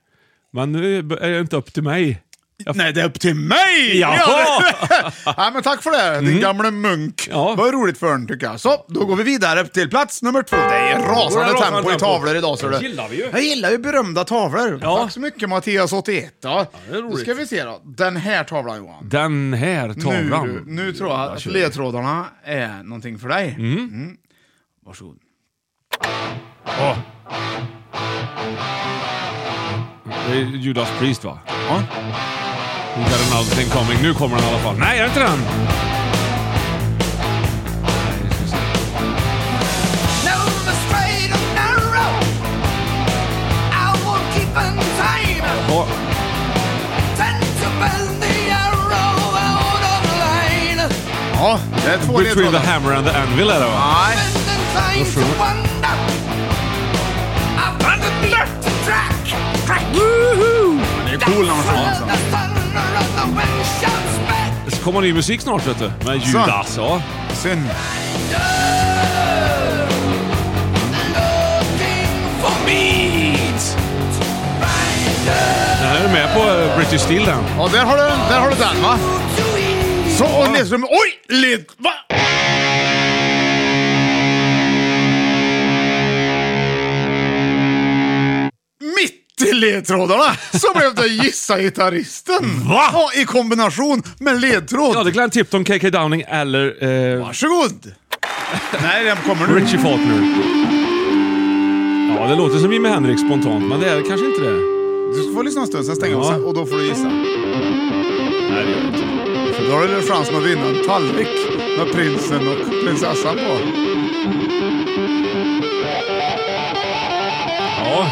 C: Men nu är det inte upp till mig. Jag-
B: Nej, det är upp till mig!
C: Jaha!
B: det- Nej, men tack för det, din gamle munk.
C: Mm. Ja.
B: Vad roligt för den tycker jag. Så, då går vi vidare till plats nummer två. Det är
C: Då är det
B: rasande
C: rasande
B: tempo i
C: tempo.
B: tavlor idag. ser
C: Det
B: du.
C: gillar vi ju.
B: Jag gillar ju berömda tavlor.
C: Ja.
B: Tack så mycket Mattias 81. Ja.
C: det är roligt.
B: nu ska vi se då. Den här tavlan Johan.
C: Den här tavlan.
B: Nu, nu tror jag att
C: kör.
B: ledtrådarna är någonting för dig. Mm. Varsågod.
C: Det är Judas Priest va?
B: Ja.
C: You got another thing coming. Nu kommer den i alla fall. Nej, är det inte den? Nej, ska vi se. Ja,
B: Ja, det är två
C: Between the
B: ledtrådar.
C: hammer and the anvil är det va?
B: Nej,
C: Då sjunger-
B: men det är cool när man sjunger en sån.
C: Det ska komma ny musik snart vet du. Med
B: Alltså.
C: Judas, ja.
B: Synd.
C: Den här är med på eh, British Steel den.
B: Ja, där har du, där har du den va? Så, och ledtrådarna... Oj! Led... Va? Mitt i ledtrådarna så blev det gissa gitarristen. Va? Ja, i kombination med ledtråd.
C: Ja, det är Glenn Tipton, KK Downing eller eh,
B: Varsågod! Nej, den kommer nu.
C: Richie Faulkner. Ja, det låter som Jimi Hendrix spontant, men det är kanske inte det.
B: Du ska få lyssna en stund, sen stänger vi
C: Ja.
B: sen, och då får du gissa.
C: Nej, det gör det inte.
B: Då har du en chans att vinna en tallrik med prinsen och prinsessan på.
C: Ja.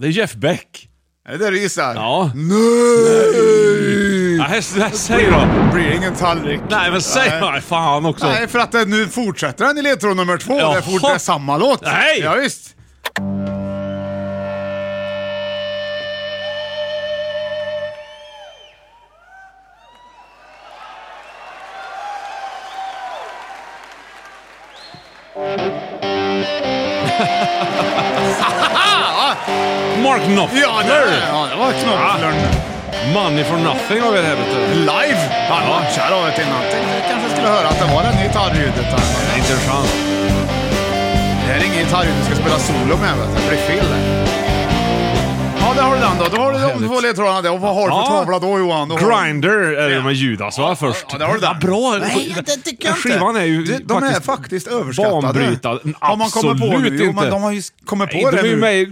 C: Det är Jeff Beck.
B: Är det det du gissar?
C: Ja.
B: Nej!
C: Nej, s- säg då.
B: Blir det ingen tallrik?
C: Nej, men säg
B: Nej.
C: då. Fan också.
B: Nej, för att det, nu fortsätter den i ledtråd nummer två. Det är, fort, det
C: Jaha.
B: är samma låt.
C: Nej!
B: Ja, visst.
C: Mark Knopfler.
B: Ja, det, ja, det var Knopflern.
C: Man ifrån nothing har vi det här vet du.
B: Live! Han
C: Ja.
B: matchar av ett innan. Tänkte jag kanske skulle höra att det var den gitarrljudet här. men-
C: Inte en chans.
B: Det här är ingen gitarrljud du ska spela solo med. Vet du. Det blir fel där. Ja, där har du den då. Då har du de två ledtrådarna där. Och vad har du för
C: Ja.
B: tavla då Johan? Då har du-
C: Grinder är det med Judas va, först?
B: Ja, där har du den.
C: bra.
B: Nej, det tycker jag inte.
C: Skivan är ju
B: de, de är
C: faktiskt
B: faktiskt överskattade.
C: banbrytande.
B: Har man kommit på
C: Absolut
B: nu? Jo, men
C: inte.
B: de har ju s- kommit på
C: Nej,
B: det
C: de är ju
B: nu.
C: med i-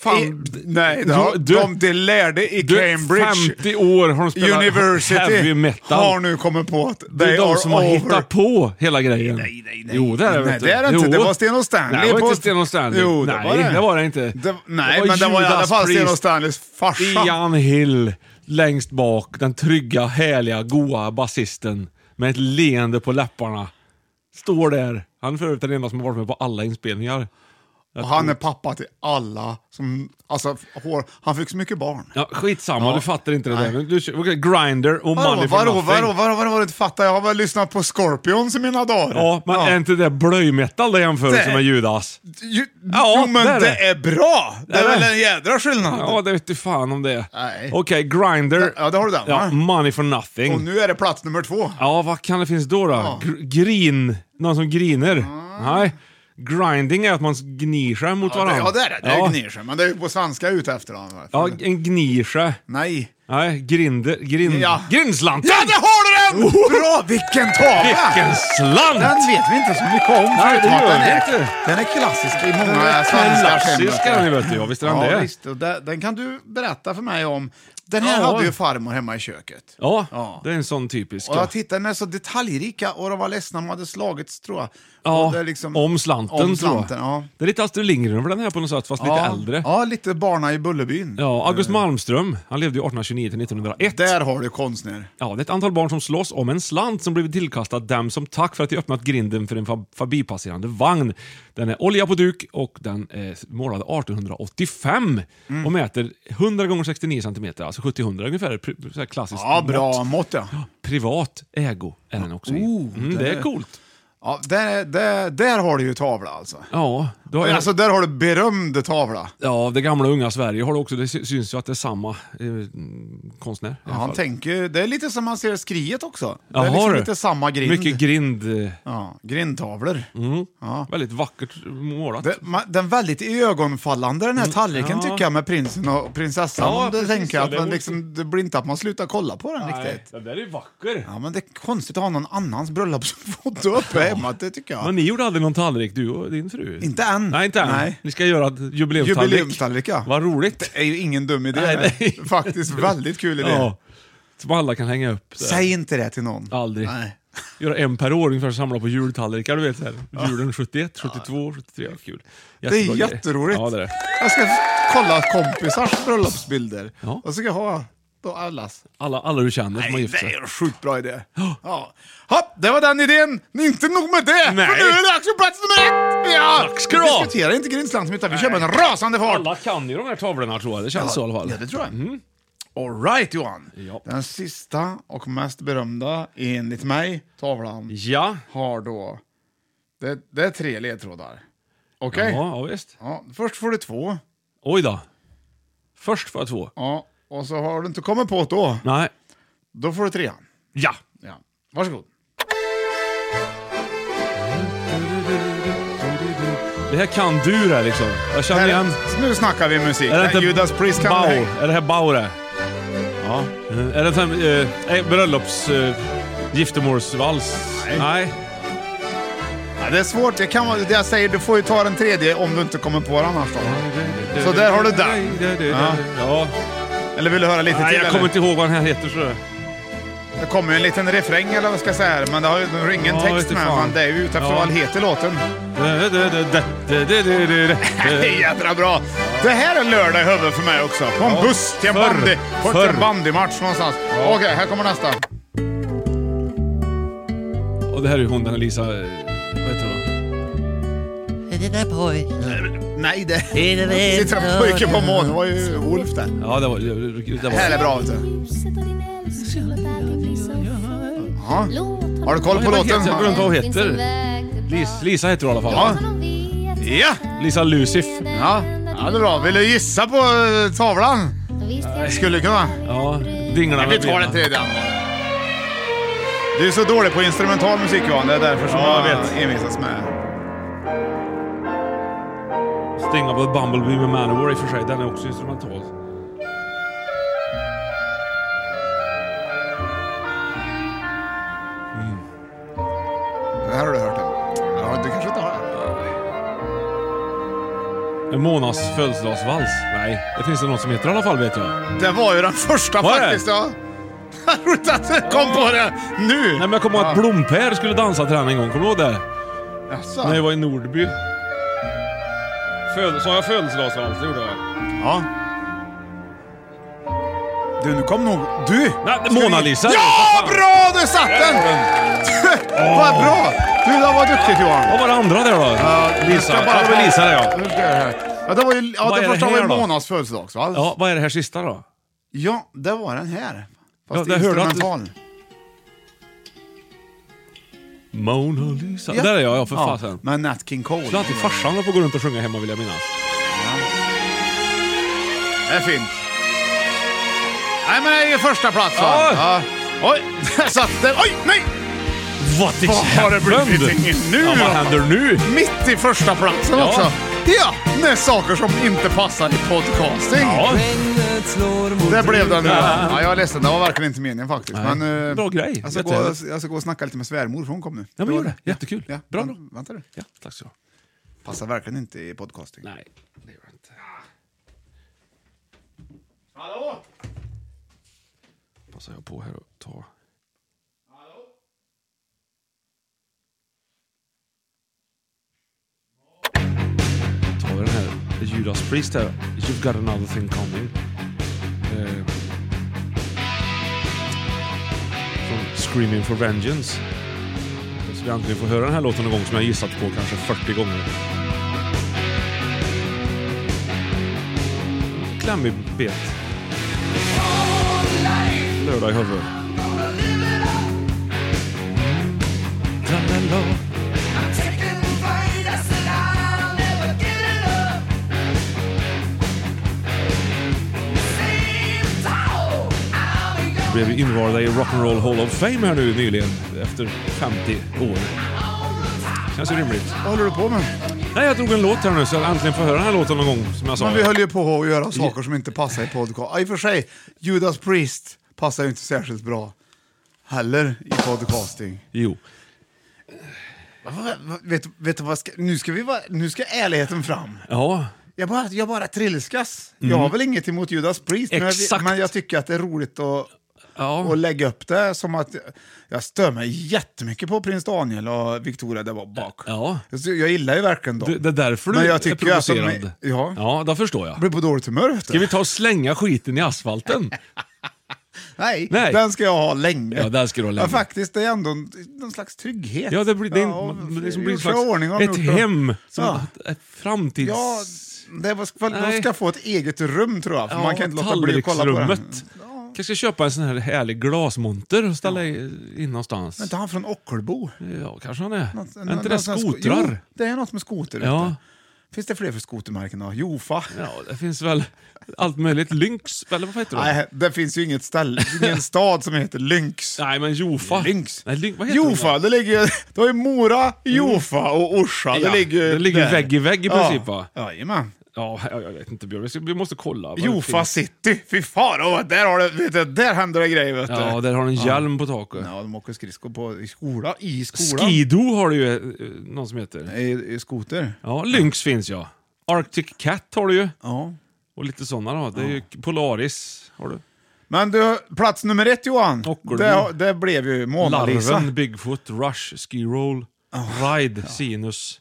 C: fan.
B: I, nej, det har,
C: Du-
B: de, de lärde i
C: Du,
B: Cambridge
C: 50 år har de spelat
B: University
C: heavy metal.
B: har nu kommit på att
C: det
B: they
C: är de
B: are
C: som har
B: over.
C: hittat på hela grejen. Nej,
B: nej, nej.
C: Jo, det är det.
B: Nej,
C: vet du.
B: det är det inte.
C: Jo.
B: Det var Sten och Stanley
C: Nej, det var
B: på-
C: inte Sten och Stanley.
B: Jo, det
C: nej,
B: var det.
C: det var det inte.
B: Det- nej, men det var i alla
C: Judas
B: fall Sten och
C: Priest.
B: Stanleys farsa.
C: Ian Hill, längst bak. Den trygga, härliga, goa basisten med ett leende på läpparna. Står där. Han är för övrigt den enda som har varit med på alla inspelningar. Jag
B: Och han
C: tror-
B: är pappa till alla som... Alltså, hår, han fick så mycket barn.
C: Ja, skitsamma,
B: Ja.
C: du fattar inte det
B: Nej.
C: där. Men Du, okay, grinder och
B: Vadå,
C: Money for
B: vadå,
C: nothing.
B: vadå, vadå, vadå, vadå, inte fattar? Jag har väl lyssnat på Scorpions i mina dagar.
C: Ja, men är inte det blöjmetall det jämförelse
B: Det-
C: med Judas?
B: Ju,
C: Ja,
B: jo, men
C: det
B: det
C: är
B: är,
C: det.
B: bra! Det är,
C: Det är det.
B: väl en jädra skillnad.
C: Ja, det vet du fan om det är.
B: Nej.
C: Okej, grinder.
B: Ja, det har du den,
C: Ja,
B: va?
C: money for nothing.
B: Och nu är det plats nummer två.
C: Ja, vad kan det finnas då? då? Gr- Grin. Någon som griner? Nej. Grinding är att man gnir sig mot
B: Ja, det,
C: varandra.
B: ja, det är det. Det är
C: ja.
B: gnir sig. Men det är ju på svenska jag är ute efter. Då.
C: Ja, en gnir sig.
B: Nej.
C: Nej, grinder. Grin...
B: Ja.
C: Grinslanten!
B: Ja, där har du den! Oh, Bra! Vilken tavla!
C: Vilken slant!
B: Den vet vi inte så mycket om.
C: Nej, det
B: förutom att
C: gör
B: den,
C: vi
B: är,
C: inte.
B: den är klassisk i
C: Den
B: många
C: är
B: svenska
C: klassisk, är den, vet du. Ja, visst är den
B: ja,
C: det.
B: Visst, och den, den kan du berätta för mig om. Den här
C: Ja.
B: hade ju farmor hemma i köket.
C: Ja,
B: Ja.
C: det är en sån typisk.
B: Och jag tittade, den är så detaljrika och de var ledsna om de hade slagits tror jag.
C: Ja,
B: Och det är liksom-
C: om slanten,
B: om
C: tror
B: slanten
C: jag.
B: ja.
C: Det är lite Astrid Lindgren över den här på något sätt, fast lite
B: ja.
C: äldre.
B: Ja, lite Barna i Bullerbyn.
C: Ja, August Malmström, han levde ju 1829 till 1901.
B: Där har du konstnär.
C: Ja, det är ett antal barn som slåss om en slant som blivit tillkastad dem som tack för att de öppnat grinden för en fa- förbipasserande vagn. Den är olja på duk och den är målad 1885 och mäter 100 gånger 69 cm, alltså 70-100 ungefär. pri- Så här klassiskt
B: Ja, bra
C: mått.
B: mått ja.
C: Privat ägo är den också i.
B: Oh,
C: mm, Det
B: det
C: är
B: är-
C: coolt.
B: ja där, där, där har du ju tavla alltså.
C: Ja, då har jag-
B: Alltså där har du berömd tavla.
C: Ja, det gamla unga Sverige har det också. Det sy- syns ju att det är samma eh, mm, konstnär. i alla
B: Han
C: fall.
B: tänker, det är lite som man ser skriet också. Det
C: Jaha,
B: är liksom
C: du.
B: lite samma grind.
C: Mycket grind. eh,
B: ja, grindtavlor.
C: Mm.
B: Ja.
C: Väldigt vackert målat.
B: Det, ma, den väldigt iögonfallande den här tallriken
C: Mm. Ja.
B: tycker jag med prinsen och prinsessan.
C: Ja,
B: Ja, det,
C: precis,
B: tänker
C: ja,
B: jag,
C: det
B: att man
C: vore-
B: liksom, det blir inte att man slutar kolla på den riktigt.
C: den där är ju vacker.
B: Ja, men det är konstigt att ha någon annans bröllopsfoto uppe hemma, det tycker jag.
C: Men ni gjorde aldrig någon tallrik, du och din fru?
B: Inte än.
C: Nej, inte än.
B: Nej.
C: Ni ska göra ett jubileumstallrik.
B: Jubileumstallrik, ja.
C: Vad roligt.
B: Det är ju ingen dum idé.
C: Nej,
B: det är
C: nej.
B: Faktiskt väldigt kul idé.
C: Ja. Som alla kan hänga upp. där.
B: Säg inte det till någon.
C: Aldrig.
B: Nej.
C: Göra en per år ungefär, samla på jultallrikar. Du vet, så här. julen 71, 72, 73. Ja, kul.
B: Det är
C: Jättebra grej.
B: jätteroligt.
C: Ja, det är det.
B: Jag ska kolla kompisars bröllopsbilder.
C: Ja.
B: Och så ska jag ha då allas.
C: Alla, alla du känner som har
B: Nej,
C: gift
B: det
C: sig.
B: är en sjukt bra idé. Ja. Hopp, det var den idén. Men Inte nog med det,
C: Nej.
B: för nu är det dags för plats nummer ett! Ja.
C: Tack ska du ha.
B: Vi diskuterar inte Grindslanten utan vi kör med en rasande fart.
C: Alla kan ju de här tavlorna tror jag. Det känns så i alla fall. Mm.
B: Ja, det tror jag. All right Johan.
C: Ja.
B: Den sista och mest berömda, enligt mig, tavlan
C: Ja.
B: har då... Det, det är tre ledtrådar. Okej?
C: Ja, ja, visst.
B: Ja, först får du två.
C: Oj då. Först får jag två.
B: Ja, och så har du inte kommit på det då.
C: Nej.
B: Då får du trean.
C: Ja.
B: Ja. Varsågod.
C: Det här kan du det liksom. Jag känner igen.
B: Här, nu snackar vi musik.
C: Är det inte
B: Judas Priest kan
C: Bauer?
B: hänga-
C: Är det här Bauer? det? Ja. Mm, Är det en eh, bröllops... Eh, giftermålsvals?
B: Nej.
C: Nej.
B: Ja, det är svårt. Jag, kan, vara- det jag säger, du får ju ta den tredje om du inte kommer på den annars då. Så där har du den.
C: Ja.
B: Eller vill du höra lite
C: Nej,
B: till?
C: jag kommer
B: eller?
C: inte ihåg vad den här heter så.
B: Det kommer ju en liten refräng eller vad jag ska säga här, men det har ju det har ju ingen
C: Ja,
B: text
C: vet
B: med.
C: fan.
B: Men det är ju utanför
C: Ja.
B: vad den heter låten. Det är
C: Hej,
B: jädra bra. Det här är lördag i huvudet för mig också. På en
C: Ja.
B: buss till en,
C: Förr.
B: bandy, på- till
C: Förr.
B: en bandymatch någonstans.
C: Ja.
B: Okej, här kommer nästa.
C: Och det här är ju hon, den här Lisa... eh, Vad heter hon?
B: Är det där pojken? Nej, det sitter en pojke på månen. Det var ju Wolf där.
C: Ja, det var... Det var
B: Det här är bra vet du. Ja. Har du koll på
C: Vad heter-
B: låten?
C: Jag glömde vad hon heter. Lis, Lisa heter hon i alla fall.
B: Ja!
C: Lisa Lucif.
B: Ja, ja det är bra. Vill du gissa på eh, tavlan? Skulle kunna.
C: Ja, dinglarna
B: Vi tar den tredje. Du är så dålig på instrumental musik Johan. Det är därför som
C: Ja, jag
B: jag envisas med.
C: Stänga på Bumblebee med Manowar i och för sig. Den är också instrumental.
B: Det här har du hört. Ja, du kanske inte har det.
C: En Monas födelsedagsvals? Nej, det finns det någon som heter i alla fall vet jag.
B: Det var ju den första
C: Var det?
B: faktiskt. Ja. Roligt att du kom på det nu.
C: Nej men jag kommer ihåg att Blom-Per skulle dansa till den en gång, kommer du ihåg det?
B: Jaså?
C: När jag var i Nordby. Föd- Sa jag födelsedagsvals? Det gjorde jag
B: Ja. Du, nu kom nog... Du!
C: Nej, det är Mona Lisa.
B: Ja, bra! Du satt den! Vad bra! Du, det var duktigt Johan.
C: Vad var det andra där då? Lisa.
B: Jag ska bara
C: Ja, det var
B: ta-
C: Lisa där ja.
B: Nu ska jag här. Ja, det var ju, ja,
C: Vad
B: det
C: är det
B: första var ju
C: här då?
B: Monas födelsedagsvals.
C: Ja, vad är det här sista då?
B: Ja, det var den här.
C: Ja,
B: Fast
C: där hörde jag att-
B: instrumental.
C: Mona Lisa.
B: Ja.
C: Där är jag, ja för
B: Ja,
C: fasen.
B: Med Nat King Cole.
C: Skulle alltid farsan få gå runt och sjunga hemma vill jag minnas.
B: Det är fint. Nej, men det är ju första plats va?
C: Ja.
B: Ja. Oj, där satt den. Oj, nej!
C: What is
B: Vad har det
C: happened?
B: blivit nu
C: Ja,
B: då?
C: vad händer nu?
B: Mitt i första platsen
C: Ja.
B: också. Ja, med saker som inte passar i podcasting.
C: Ja.
B: Det blev den nu.
C: Ja.
B: Ja, jag är ledsen, det var verkligen inte meningen faktiskt.
C: Nej.
B: Men, eh,
C: Bra grej.
B: Jag ska, gå,
C: Jättehärligt.
B: jag ska gå och snacka lite med svärmor för hon kom nu.
C: Ja men gör det. Jättekul.
B: Ja,
C: Bra
B: vä-
C: då.
B: Vänta du.
C: Ja, tack så
B: Passar verkligen inte i podcasting.
C: Nej, det gör det inte.
B: Hallå?
C: Passar jag på här och ta... Tar vi den här Judas Priest här. You've got another thing coming. Eh, från Screaming for Vengeance. Så vi äntligen får höra den här låten någon gång som jag gissat på kanske 40 gånger. Klämmig bet. Lördag i huvudet. Blev ju invalda i Rock'n'Roll Hall of Fame här nu nyligen efter 50 år. Känns ju rimligt.
B: Vad håller du på med?
C: Nej, jag drog en låt här nu så jag äntligen får höra den här låten någon gång som jag sa.
B: Men vi höll ju på att göra saker som inte passar i podcast. Ja, I och för sig, Judas Priest passar ju inte särskilt bra heller i podcasting.
C: Jo.
B: Va- va- va- Vet, vet du vad, ska, nu, ska vi vara, nu ska ärligheten fram.
C: Ja.
B: Jag bara, jag bara trilskas. Jag har väl inget emot Judas Priest, men jag,
C: Exakt.
B: men jag tycker att det är roligt att,
C: Ja.
B: att lägga upp det som att... Jag stör mig jättemycket på prins Daniel och Victoria där bak.
C: Ja.
B: Så Jag gillar ju verkligen dem.
C: Du, det är därför du
B: Men jag
C: är
B: tycker ju att de är-
C: provocerad.
B: ja.
C: ja, det förstår
B: Jag
C: jag.
B: blir på dåligt humör vet
C: Ska
B: du.
C: vi ta och slänga skiten i asfalten?
B: Nej,
C: Nej.
B: den ska jag ha länge.
C: Ja, den ska du ha länge.
B: Men faktiskt, det är ändå en- någon slags trygghet.
C: Ja, det blir, det är,
B: Ja,
C: en- det liksom blir
B: vi
C: en
B: gjort sig i
C: slags,
B: ordning och
C: ett
B: gjort det.
C: hem. Som
B: Ja.
C: ett framtids...
B: Ja, det var, för de
C: Nej.
B: ska få ett eget rum tror jag, för
C: Ja,
B: man kan inte låta bli att kolla på den.
C: tallriksrummet. Kanske ska köpa en sån här härlig glasmonter och ställa i- in någonstans.
B: Men inte han från Ockelbo?
C: Ja, kanske han är.
B: Något-
C: är inte
B: någon
C: det
B: sån här sko- Jo,
C: skotrar?
B: det är något med skoter. vet
C: Ja.
B: du. Finns det fler för skotermärken då? Jofa?
C: Ja, det finns väl allt möjligt. Lynx, eller vad heter det?
B: Nej, det finns ju inget ställe, ingen stad som heter Lynx.
C: Nej, men Jofa.
B: Lynx.
C: Nej, Lynx vad heter
B: Jofa,
C: den?
B: det ligger ju... Du har ju Mora, Jofa och Orsa.
C: Ja,
B: det ligger ju
C: det ligger ju
B: där.
C: vägg i vägg i princip,
B: ja.
C: va?
B: Jajamän.
C: Ja, jag jag vet inte Björn. Vi ska- Vi måste kolla. vad det
B: Jofa
C: finns.
B: city. Fy fan, åh, där, har det, vet du, där händer det grejer vet du.
C: Ja, där har den hjälm på taket.
B: Ja, de åker skridskor på, i skola, i skolan.
C: Skido har du ju eh, någon som heter.
B: I, i skoter.
C: Ja, Lynx finns ja. Arctic Cat har du ju.
B: Ja.
C: Och lite sådana då. Det är ju Polaris har du.
B: Men du, plats nummer ett Johan, det, det blev ju Mona Lisa.
C: Larven, Bigfoot, Rush, Ski Roll, Ride, Sinus.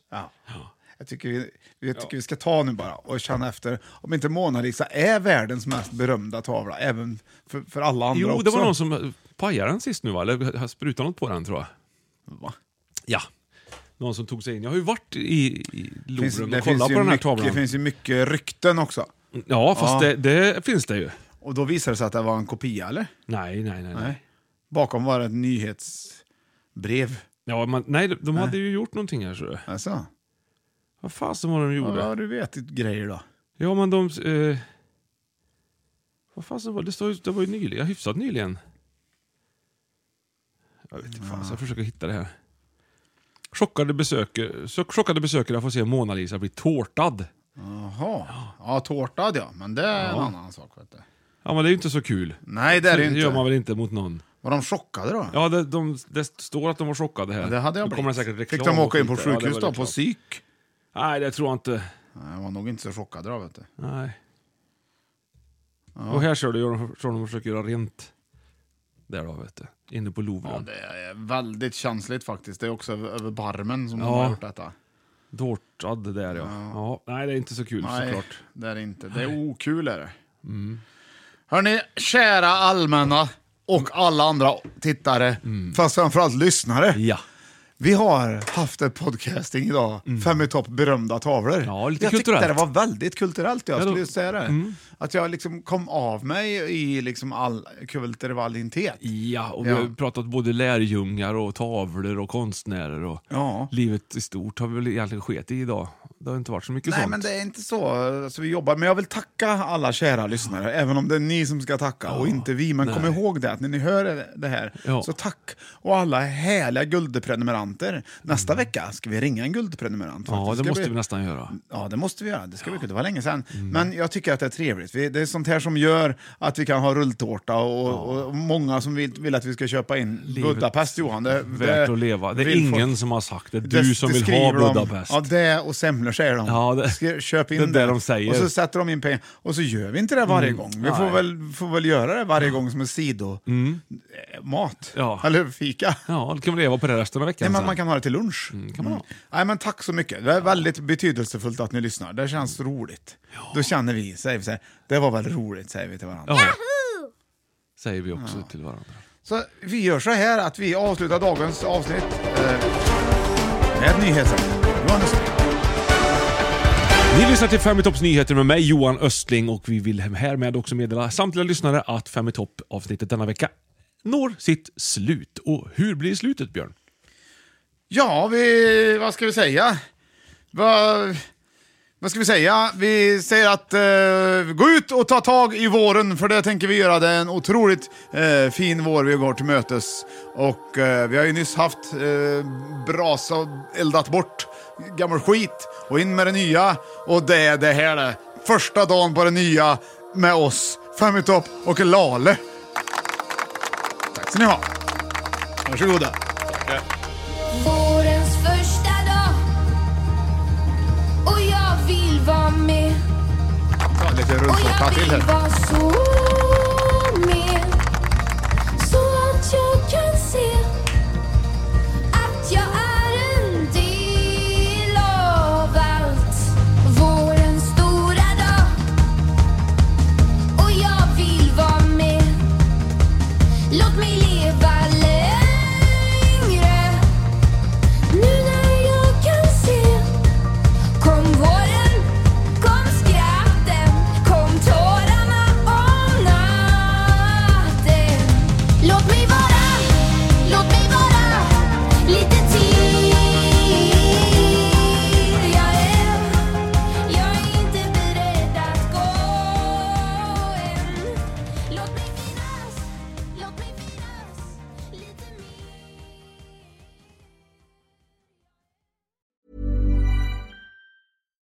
B: Jag tycker, vi, jag tycker vi ska ta nu bara och känna efter om inte Mona Lisa är världens mest berömda tavla, även för, för alla andra
C: Jo,
B: också.
C: det var någon som eh, pajade den sist nu va? Eller eh, sprutade något på den tror jag.
B: Va?
C: Ja. Någon som tog sig in. Jag har ju varit i, i
B: Finns,
C: Louvren
B: det
C: och kollat
B: finns
C: på
B: ju
C: den här
B: mycket,
C: tavlan.
B: Det finns ju mycket rykten också.
C: Ja, fast Det, det finns det ju.
B: Och då visade det sig att det var en kopia, eller?
C: Nej, nej, nej. nej.
B: Bakom var det ett nyhetsbrev.
C: Ja, man, nej, de
B: Nej.
C: hade ju gjort någonting här så du.
B: Alltså.
C: Vad fasen var det de gjorde?
B: Ja, du vet grejer då.
C: Ja, men de... Eh, vad fasen var det? Står, ju- det var ju nyligen, ja, hyfsat nyligen. Jag vet inte, fan, så jag försöker hitta det här. Chockade, besöker, så- chockade besökare får se Mona Lisa bli tårtad.
B: Jaha. Ja, tårtad ja, men det är en
C: Ja.
B: annan sak. Vet du.
C: Ja, men det är ju inte så kul.
B: Nej, det är det ju
C: Det
B: inte.
C: gör man väl inte mot någon.
B: Var de chockade då?
C: Ja, det, de, det står att de var chockade här.
B: Ja, det hade jag
C: Då kommer det
B: blivit.
C: säkert
B: Fick
C: reklam
B: de
C: och
B: åka in på
C: skit där. Ja, det
B: sjukhus
C: var
B: då,
C: reklam.
B: på psyk?
C: Nej, det tror jag inte.
B: Nej, de var nog inte så chockade då, vet du.
C: Nej. Och här kör du de, kör de försöker göra rent. Där då, vet du. Inne på
B: Ja,
C: Louvren.
B: det är väldigt känsligt faktiskt. Det är också över, över barmen som
C: Ja.
B: de har gjort detta.
C: Tårtad där ja.
B: Ja.
C: ja. Nej, det är inte så kul
B: Nej,
C: såklart. Mm.
B: det är det inte. Det är okul är det. Hörni, kära allmänna och alla andra tittare,
C: Mm.
B: fast framförallt lyssnare.
C: Ja.
B: Vi har haft ett podcasting idag, Fem i topp berömda tavlor.
C: Mm. Ja, lite
B: jag tyckte det
C: kulturellt.
B: var väldigt kulturellt, jag
C: Ja, då-
B: skulle säga det.
C: Mm.
B: Att jag liksom kom av mig i liksom all kulturvalitet.
C: Ja, och
B: Ja.
C: vi har ju pratat både lärjungar och tavlor och konstnärer och
B: Ja.
C: livet i stort har vi väl egentligen sket i idag. Det har inte varit så mycket
B: Nej,
C: sånt.
B: men det är inte så alltså, vi jobbar. Men jag vill tacka alla kära lyssnare, även om det är ni som ska tacka och inte vi. Men kom ihåg det, att när ni hör det här,
C: Ja.
B: så tack. Och alla härliga guldprenumeranter. Nästa vecka ska vi ringa en guldprenumerant.
C: Mm. ja,
B: faktiskt.
C: det
B: Ska
C: måste
B: vi-
C: vi nästan göra.
B: Ja, det måste vi göra. Det ska vi kunna. Det var länge sedan.
C: Mm.
B: Men jag tycker att det är trevligt. Vi, det är sånt här som gör att vi kan ha rulltårta och, och många som vill, vill att vi ska köpa in Budapest, Johan. Det,
C: Värt att leva. Det är
B: vill folk-
C: ingen som har sagt det.
B: det-
C: Du som
B: det
C: vill ha
B: skriver de.
C: Budapest.
B: Ja, det och semlor säger de.
C: Ja, det-
B: Ska- Köp in
C: det är det de säger.
B: Och så sätter de in pengar. Och så gör vi inte det varje
C: Mm.
B: gång. Vi
C: Nej.
B: får väl, får väl göra det varje gång som en sidomat.
C: Mm. Ja.
B: Eller fika.
C: Ja, då kan vi leva på det resten av veckan
B: Nej, men
C: sen.
B: man kan ha det till lunch.
C: Mm,
B: Mm.
C: kan man ha.
B: Nej, men tack så mycket. Det är väldigt betydelsefullt att ni lyssnar. Det känns roligt. Då känner vi, säger vi så här, det var väl roligt, säger vi till varandra.
C: Ja. Säger vi också till varandra.
B: Så vi gör så här att vi avslutar dagens avsnitt eh, med ett nyhetsämne. Johan Östling.
C: Ni lyssnar till Fem i topps nyheter med mig Johan Östling och vi vill härmed också meddela samtliga lyssnare att Fem i topp avsnittet denna vecka når sitt slut. Och hur blir slutet Björn?
B: Ja, vi, vad ska vi säga? Vad, vad ska vi säga? Vi säger att eh, gå ut och ta tag i våren, för det tänker vi göra. Det är en otroligt eh, fin vår vi går till mötes. Och eh, vi har ju nyss haft eh, brasa och eldat bort gammal skit och in med det nya. Och det är det här det. Första dagen på det nya med oss, Fem i topp och Lale. Tack ska ni ha. Varsågoda.
K: Vårens första dag Och jag vill vara med
B: Ta lite
K: Och
B: rulltårta
K: jag
B: till
K: vill
B: här.
K: vara så med Så att jag kan se Att jag är en del av allt Vårens stora dag Och jag vill vara med Låt mig leva längre Nu när jag kan se Kom våren, kom skratten Kom tårarna om natten Låt mig vara, låt mig vara lite till Jag är, jag är inte beredd att gå än Låt mig finnas, låt mig finnas lite